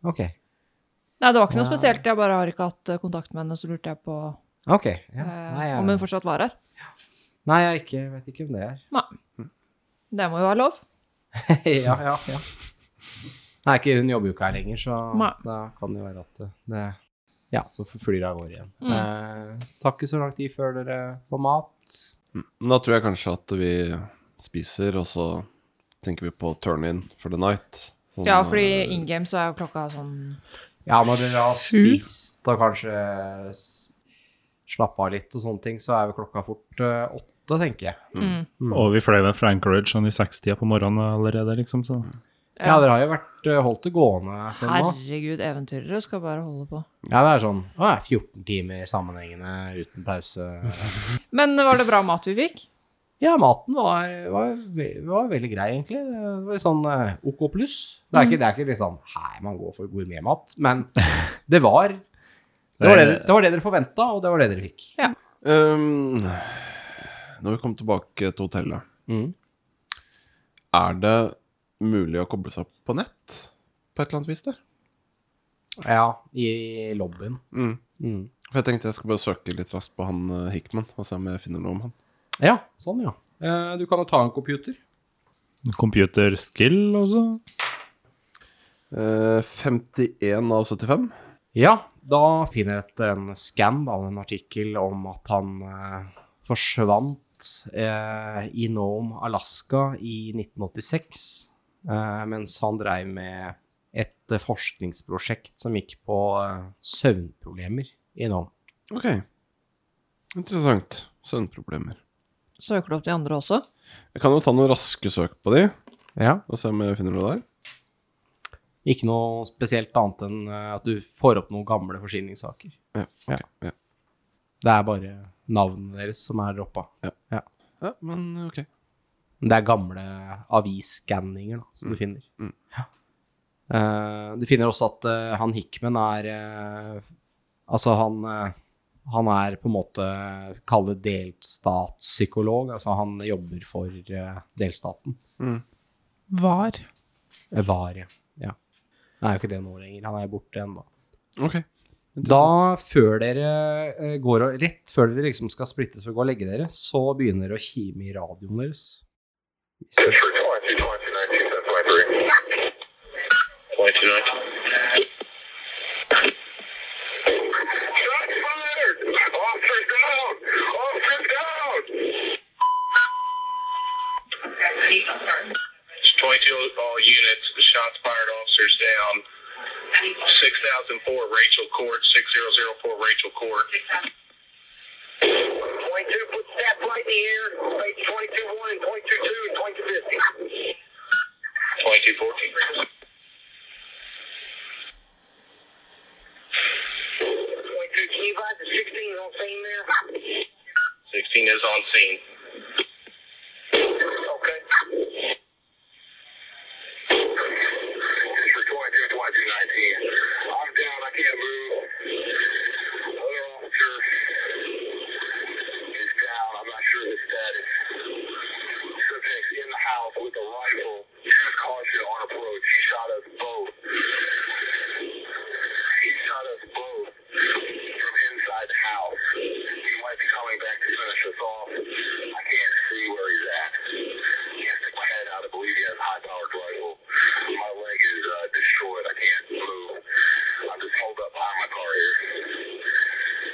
B: Ok.
E: Nei, det var ikke noe
B: Ja.
E: spesielt. Jeg bare har ikke hatt eh, kontakt med henne, så lurte jeg på
B: Ok. Ja.
E: eh,
B: Nei, jeg,
E: om hun fortsatt var her.
B: Nei, jeg ikke, vet ikke om det er.
E: Det må jo være lov.
B: ja, ja, ja. Nei, ikke, hun jobber jo ikke her lenger, så
E: Nei.
B: da kan det jo være at det- det Ja, så flyr det av gårde igjen.
E: Mm.
B: Eh, tar ikke så lang tid før dere får mat.
D: Men Da tror jeg kanskje at vi spiser, og så tenker vi på turn in for the night. Sånn,
E: Ja, fordi
D: eh,
E: in game så er jo klokka sånn
B: Ja, når dere har spist og kanskje s- slappet av litt og sånne ting, så er jo klokka fort eh, åtte, tenker jeg.
E: mm.
C: Og vi fløy med fra Anchorage sånn i sekstida på morgenen allerede, liksom, så
B: Ja, dere har jo vært, eh, holdt det gående en stund nå.
E: Herregud, eventyrere skal bare holde på.
B: Ja, det er sånn å, ja, 14 timer sammenhengende uten pause.
E: Men var det bra mat vi fikk?
B: Ja, maten var, var, ve- var veldig grei, egentlig. Det var sånn eh, OK pluss. Det er ikke, det er ikke liksom Hei, man går for gourmetmat. Men det var det, var det, det var det dere forventa, og det var det dere fikk.
D: ehm, når vi kommer tilbake til hotellet,
B: Mm.
D: er det mulig å koble seg opp på nett på et eller annet vis der?
B: Ja, i lobbyen.
D: Mm.
B: Mm.
D: For jeg tenkte jeg skal bare søke litt raskt på han eh, Hickman, og se om jeg finner noe om han.
B: Ja, sånn, ja. Eh, du kan jo ta en computer.
C: Computer skill altså. også?
D: Eh, 51 av 75.
B: Ja, da finner jeg et, en skann av en artikkel om at han eh, forsvant eh, i Nome, Alaska i 1986, eh, mens han drev med et eh, forskningsprosjekt som gikk på eh, søvnproblemer i Nome.
D: Ok. Interessant. Søvnproblemer.
E: Søker du opp de andre også?
D: Jeg kan jo ta noen raske søk på de,
B: Ja.
D: og se om jeg finner noe der.
B: Ikke noe spesielt annet enn eh, at du får opp noen gamle forsyningssaker.
D: Ja, ok, ja.
B: Det er bare navnene deres som er droppa.
D: ja men ok.
B: Det er gamle avisskanninger da, som du finner.
D: mm.
B: Ja. Eh, du finner også at eh, han Hickman er eh, Altså, han, eh, han er på en måte Kall det delstatspsykolog. Altså, han jobber for eh, delstaten.
F: Var.
B: Eh, Var, ja. ja. Han er jo ikke det nå lenger. Han er borte igjen, da.
D: Ok.
B: Da, før dere eh, går og Rett før dere liksom skal splittes og gå og legge dere, så begynner det å kime i radioen deres.
I: uh, All units, shots fired, officers down. 6004 Rachel Court, 6004 Rachel Court. 22, put that right in the air. Like 22 1, 22 2, 22 50. 22 14. 22, can you ride the 16 on scene there? 16 is on scene. Okay. 22, 22, 19. I'm down, I can't move. Other officer is down, I'm not sure his status. Subject's in the house with a rifle. Choose caution on approach. He shot us both. He shot us both from inside the house. He might be coming back to finish us off. I can't see where he's at. uh,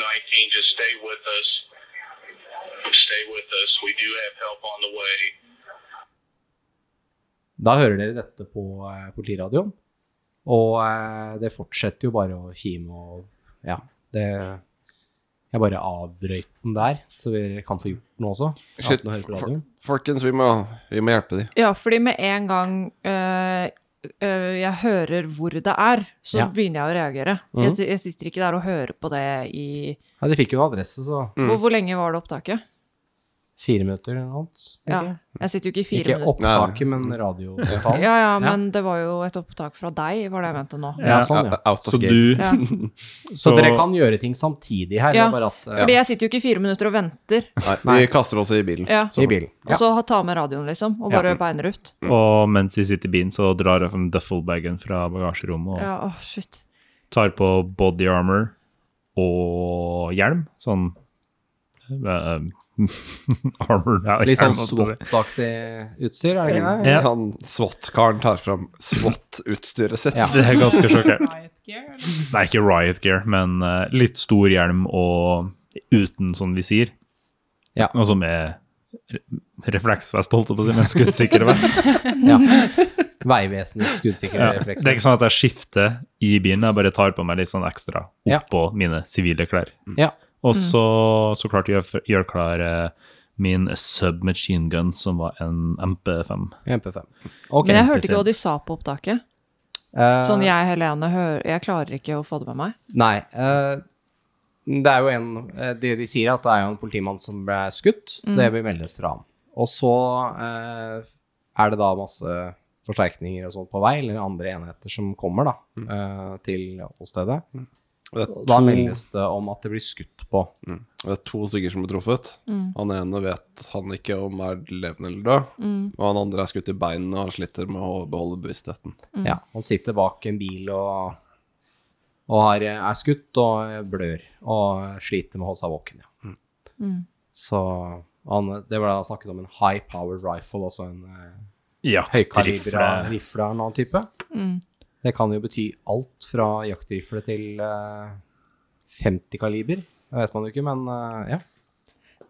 I: uh, stay with us. Stay with us. We do have help on the way.
B: Da hører dere dette på eh, politiradioen. Og eh, det fortsetter jo bare å kime og Ja. Det Jeg bare avbrøt den der, så dere kan få gjort den også.
D: Shit,
B: uten å høre på
D: for-
B: radioen.
D: Folkens, vi må, vi må hjelpe de.
E: Ja, fordi med en gang eh, eh, jeg hører hvor det er, så
B: Ja.
E: begynner jeg å reagere.
B: Mhm.
E: Jeg, si- jeg sitter ikke der og hører på det i
B: Ja, de fikk jo en adresse, så
E: hvor, hvor lenge var det opptaket?
B: fire minutter eller noe annet.
E: Ja. Jeg sitter jo ikke i fire
B: Ikke
E: minutter.
B: opptaket, men radiosamtalen.
E: Ja, ja, men det var jo et opptak fra deg, var det jeg mente nå.
B: Ja, sånn, ja.
D: Out of
C: Så
D: game.
C: du
E: Ja.
B: Så dere kan gjøre ting samtidig her.
E: Ja,
B: det er bare at, eh,
E: Fordi jeg sitter jo ikke i fire minutter og venter,
D: Nei, vi kaster oss i bilen.
E: ja.
B: i bilen.
E: og så ta med radioen, liksom, og bare beiner ut.
C: Og mens vi sitter i bilen, så drar jeg frem duffelbagen fra bagasjerommet og
E: Ja, åh, shit.
C: tar på body armor og hjelm. Sånn eh, Armor ja,
B: Litt
C: hjelm,
B: sånn
C: holdt jeg på å si.
B: SWAT-aktig utstyr, er det ikke det?
C: Ja.
D: Han SWAT-karen tar fram SWAT-utstyret sitt.
B: Ja.
C: Det er ganske sjokkert.
F: Riot gear?
C: Nei, ikke riot gear, men eh, litt stor hjelm og uten sånn visir.
B: Ja.
C: Og så Altså med re- refleksvest, holdt jeg på å si, men skuddsikker vest.
B: Ja. Veivesenets skuddsikre
C: Ja. Det
B: reflekser.
C: er ikke sånn at jeg skifter i bilen, jeg bare tar på meg litt sånn ekstra
B: Ja. Mm.
C: oppå mine sivile klær.
B: Ja.
C: Og så, så klart gjør, gjør klar eh, min submachine gun, som var en MP5.
B: MP5. Ok.
E: Men jeg hørte ikke hva de sa på opptaket.
B: Eh,
E: Sånn jeg, Helene, hører, jeg klarer ikke å få det med meg.
B: Nei. eh, det er jo en eh, Det de sier, er at det er jo en politimann som ble skutt.
D: Mm.
B: Det blir meldes fra ham. Og så eh, er det da masse forsterkninger og sånt på vei, eller andre enheter som kommer da, eh, til åstedet.
D: Og Det, er
B: Da
D: to,
B: meldes det om at det blir skutt på.
D: og det er to stykker som blir truffet. Han ene vet han ikke om er levende eller død. Og han andre er skutt i beinene og sliter med å beholde bevisstheten.
E: Mm.
B: Ja, han sitter bak en bil og, og har, er skutt og blør og sliter med å holde seg våken. Ja.
E: Mm.
B: Så han, det var da snakket om en high power rifle, også en eh,
C: Ja,
B: høykalibra
C: eh,
B: rifle av en annen type.
E: Mm.
B: Det kan jo bety alt fra jaktrifle til eh, 50 kaliber. Det vet man jo ikke, men eh, ja.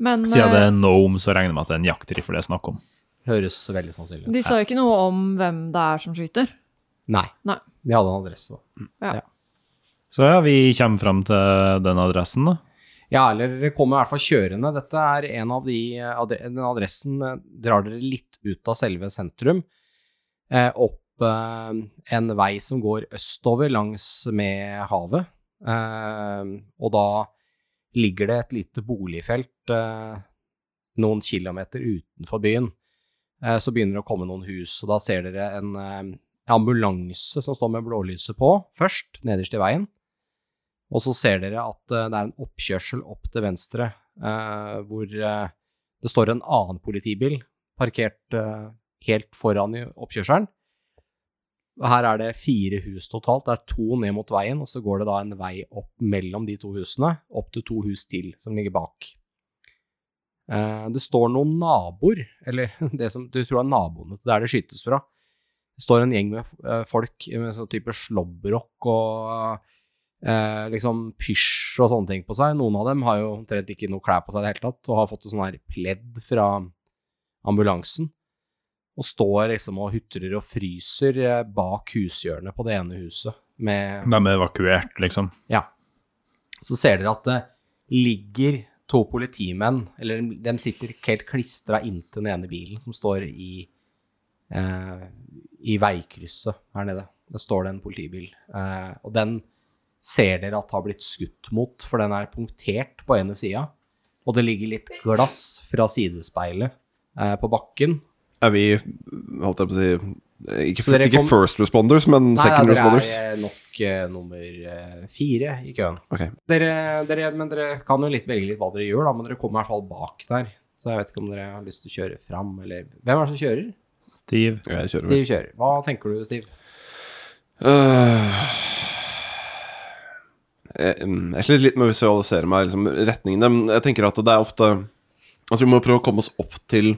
E: Men
C: Siden det
E: eh,
C: er Nome, så regner jeg med at det er en jaktrifle det er snakk om.
B: Høres veldig sannsynlig ut.
E: eh, de sa jo ikke noe om hvem det er som skyter.
B: Nei.
E: Nei.
B: De hadde en adresse, da.
C: Så ja, vi kommer fram til den adressen, da.
B: Ja, eller dere kommer i hvert fall kjørende. Dette er en av de eh, adre Den adressen eh, drar dere litt ut av selve sentrum, eh, opp eh, en vei som går østover langs med havet. Eh, og da ligger det et lite boligfelt eh, noen kilometer utenfor byen. Eh, så begynner det å komme noen hus, og da ser dere en eh, ambulanse som står med blålyset på først, nederst i veien. Og så ser dere at eh, det er en oppkjørsel opp til venstre, eh, hvor eh, det står en annen politibil parkert eh, helt foran i oppkjørselen. Og Her er det fire hus totalt. Det er to ned mot veien, og så går det da en vei opp mellom de to husene, opp til to hus til som ligger bak. Eh, Det står noen naboer, eller det som du tror er naboene, det er der det skytes fra. Det står en gjeng med eh, folk med sånn type slåbrok og eh, liksom pysj og sånne ting på seg. Noen av dem har jo omtrent ikke noe klær på seg i det hele tatt, og har fått sånn her pledd fra ambulansen. Og står liksom og hutrer og fryser eh, bak hushjørnet på det ene huset. Med,
C: De er evakuert, liksom.
B: ja. Så ser dere at det ligger to politimenn, eller de sitter helt klistra inntil den ene bilen som står i, eh, i veikrysset her nede. Der står det en politibil. Eh, og den ser dere at har blitt skutt mot, for den er punktert på ene sida. Og det ligger litt glass fra sidespeilet eh, på bakken.
D: Er vi, holdt jeg på å si eh, Ikke,
B: Så dere
D: ikke
B: kom-
D: first responders, men second
B: dere er
D: responders.
B: eh, nok eh, nummer eh, fire i køen.
D: Ok.
B: Dere, dere, men dere kan jo litt velge litt hva dere gjør, da, men dere kommer i hvert fall bak der. Så jeg vet ikke om dere har lyst til å kjøre fram, eller Hvem er det som kjører?
D: Mm.
C: Stiv.
D: Jeg kjører vel.
B: Stiv kjører. Hva tenker du, Stiv?
D: Øh. Jeg, mm, jeg sliter litt med å visualisere meg liksom, retningene. Men jeg tenker at det er ofte Altså Vi må prøve å komme oss opp til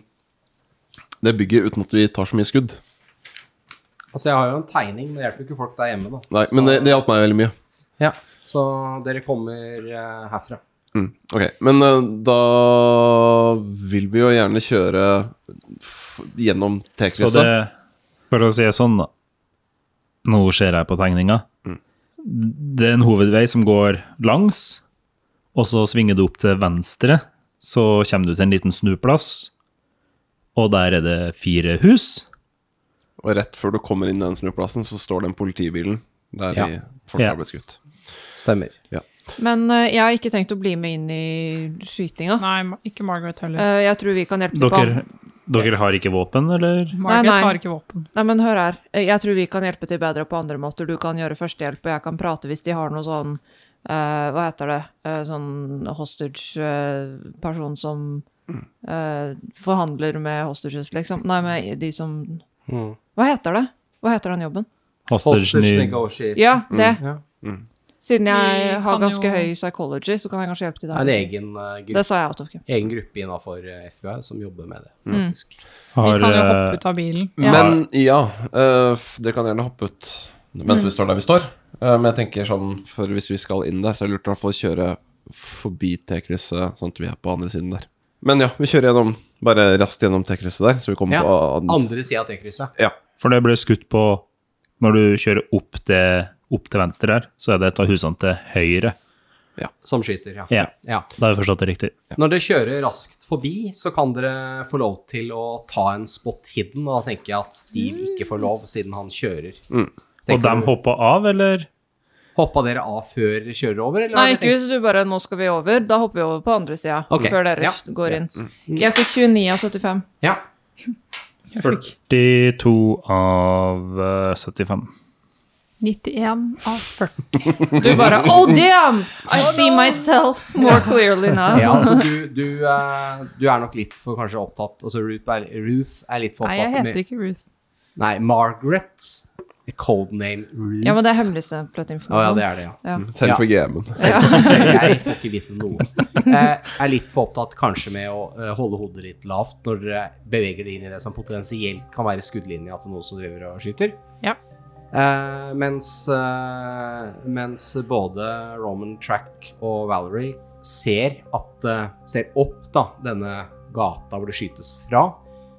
D: det bygget uten at vi tar så mye skudd.
B: Altså, jeg har jo en tegning, men det hjelper jo ikke folk der hjemme, da.
D: Nei,
B: så,
D: Men det, det hjalp meg veldig mye.
B: Ja, så dere kommer eh, herfra.
D: Ok, men eh, da vil vi jo gjerne kjøre f gjennom
C: Så
D: T-krysset.
C: det Bare å si det sånn, da. Nå ser jeg på tegninga. Det er en hovedvei som går langs, og så svinger du opp til venstre. Så kommer du til en liten snuplass, og der er det fire hus.
D: Og rett før du kommer inn den snuplassen, så står den politibilen der
B: Ja.
D: vi folk
C: Ja.
D: har blitt skutt.
B: Stemmer.
E: Men eh, jeg har ikke tenkt å bli med inn i skytinga.
F: Nei, Ma- ikke Margaret heller.
E: Eh, jeg tror vi kan hjelpe til på
C: Dere, dere har ikke våpen, eller?
F: Margaret
E: nei.
F: har ikke våpen.
E: Nei, men hør her. Eh, Jeg tror vi kan hjelpe til bedre på andre måter. Du kan gjøre førstehjelp, og jeg kan prate hvis de har noe sånn eh, Hva heter det? Eh, sånn hostage-person som eh, forhandler med hostages, liksom. Nei, med de som Hva heter det? Hva heter den jobben?
C: Hostage ny-
B: negotiate.
E: Ja, det.
B: ja.
E: Siden jeg
F: Vi
E: har
F: kan
E: ganske
F: jo-
E: høy psychology, så kan jeg kanskje hjelpe til
B: Det er en
E: der.
B: egen, eh,
E: Det
B: gruppe,
E: sa jeg out of game.
B: egen gruppe eh, innafor FBI som jobber med det.
E: Mm.
B: faktisk.
C: har,
F: Vi kan jo
C: eh,
F: hoppe ut av bilen.
E: Ja.
D: Men ja, eh, f- dere kan gjerne hoppe ut mens vi står der vi står. Eh, men jeg tenker sånn, for hvis vi skal inn der, så er det lurt i hvert fall å kjøre forbi T-krysset, sånn at vi er på andre siden der. Men ja, vi kjører gjennom, bare raskt gjennom T-krysset der, så vi kommer
B: Ja.
D: på andre.
B: Andre sida av T-krysset.
D: Ja.
C: For det ble skutt på Når du kjører opp til, opp til venstre her, så er det et av husene til høyre.
B: Som skyter, ja.
C: Ja,
B: ja.
C: da har jeg forstått det riktig.
B: Når dere kjører raskt forbi, så kan dere få lov til å ta en spot hidden. Og da tenker jeg at Steve ikke får lov, siden han kjører.
C: Og de hoppa av, eller?
B: Hoppa dere av før dere kjører over, eller?
E: Nei,
B: har
E: ikke
B: dere tenkt-
E: hvis du bare Nå skal vi over. Da hopper vi over på andre sida
B: Ok,
E: før dere
B: ja, Mm.
E: går inn. Jeg fikk 29 av 75.
B: Ja.
C: 42 av eh, 75.
F: 91 av 40.
E: Du bare Oh, damn! I see myself more clearly now.
B: ja altså, du, du, eh, du er nok litt for kanskje opptatt Altså, Ruth er, Ruth er litt for
F: Nei, jeg
B: opptatt
F: heter ikke Ruth.
B: Nei, Margaret. Codename Ruth.
E: Ja, men det er hemmeligstemplet
B: Å ja,
E: informasjon.
B: det er det, ja.
D: Selv for GM-en.
B: Selv jeg får ikke vite noe. Jeg er litt for opptatt kanskje med å eh, holde hodet litt lavt når dere beveger det inn i det som potensielt kan være skuddlinja til noen som driver og skyter.
F: Ja.
B: Eh, mens, eh, mens både Roman Track og Valerie ser, at, eh, ser opp da, denne gata hvor det skytes fra,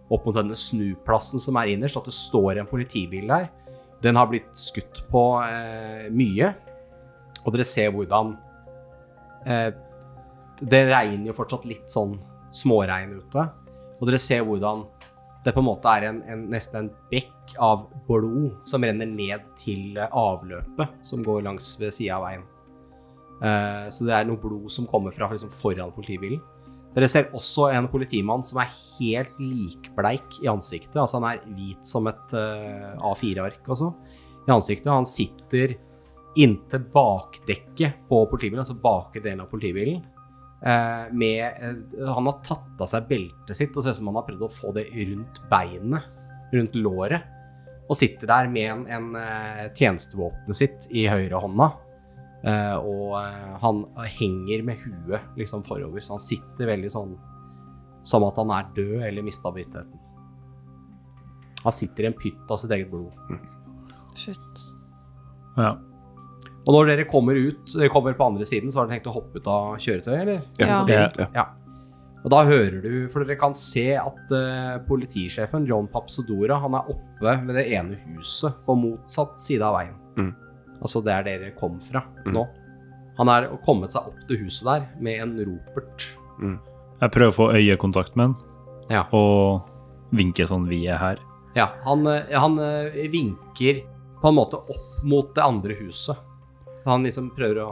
B: opp mot denne snuplassen som er innerst, at det står en politibil der. Den har blitt skutt på eh, mye, og dere ser hvordan eh, Det regner jo fortsatt litt sånn småregn ute. Og dere ser hvordan det på en måte er en, en, nesten en bekk av blod som renner ned til eh, avløpet som går langs ved sida av veien. Eh, så det er noe blod som kommer fra liksom, foran politibilen. Dere ser også en politimann som er helt likbleik i ansiktet. Altså han er hvit som et eh, A4-ark også, i ansiktet. Han sitter inntil bakdekket på politibilen, altså bakre delen av politibilen. Eh, med, eh, han har tatt av seg beltet sitt og ser ut som han har prøvd å få det rundt beinet, rundt låret. Og sitter der med en, en eh, tjenestevåpenet sitt i høyre hånda. Eh, og eh, han henger med huet liksom forover, så han sitter veldig sånn som at han er død eller mista bevisstheten. Han sitter i en pytt av sitt eget blod.
C: Ja.
B: Og når dere kommer ut, dere kommer på andre siden, så har dere tenkt å hoppe ut av kjøretøyet, eller?
E: Ja.
C: Ja.
B: Ja. Og da hører du, for dere kan se at eh, politisjefen, John Papsodora, han er oppe ved det ene huset på motsatt side av veien.
D: Mm.
B: Altså der dere kom fra
C: Mm.
B: nå. Han er kommet seg opp til huset der med en ropert.
C: Jeg prøver å få øyekontakt med han,
B: Ja.
C: og vinke sånn vi er her.
B: Ja, han, eh, han eh, vinker på en måte opp mot det andre huset. Han liksom prøver å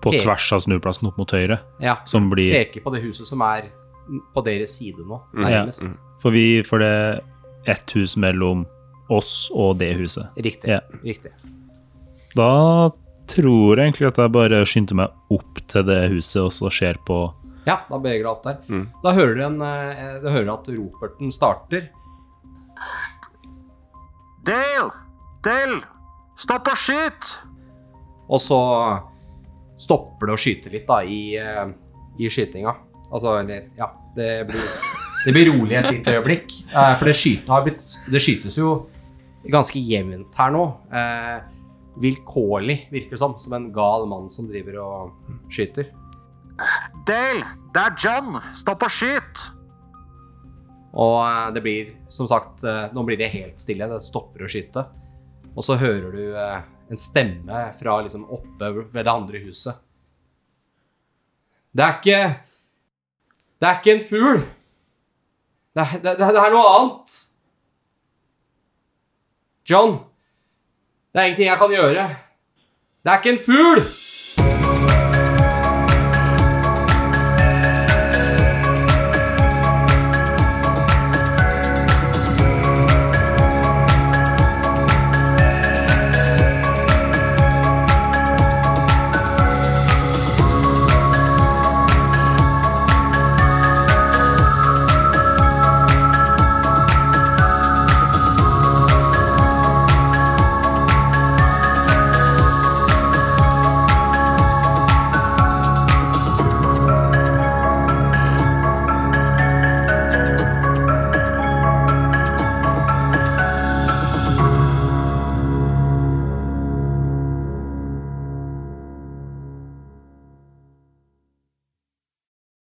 C: På
B: Ok.
C: tvers av snuplassen opp mot høyre,
B: ja,
C: som blir
B: peke på det huset som er på deres side nå, nærmest.
C: Mm. Ja. For vi får det ett hus mellom oss og det huset.
B: Riktig.
C: mm. Ja.
B: riktig.
C: Da tror jeg egentlig at jeg bare skyndte meg opp til det huset og så ser på
B: Ja, da beveger du deg opp der. Da hører du, en, eh, du hører at roperten starter.
J: Del! Del! Stopp og skyt!
B: Og så stopper det å skyte litt da, i, eh, i skytinga. Altså, eller Ja, det blir, det blir rolig et lite øyeblikk. eh, For det, skyte har blitt, det skytes jo ganske jevnt her nå. Eh, vilkårlig, virker det som. Som en gal mann som driver og skyter.
K: Dale, det er John. Stopp og skyt!
B: Og eh, det blir, som sagt, eh, nå blir det helt stille. Det stopper å skyte. Og så hører du eh, en stemme fra liksom oppe ved det andre huset. Det er ikke Det er ikke en fugl. Det, er- det, det, det er noe annet. John, det er ingenting jeg kan gjøre. Det er ikke en fugl!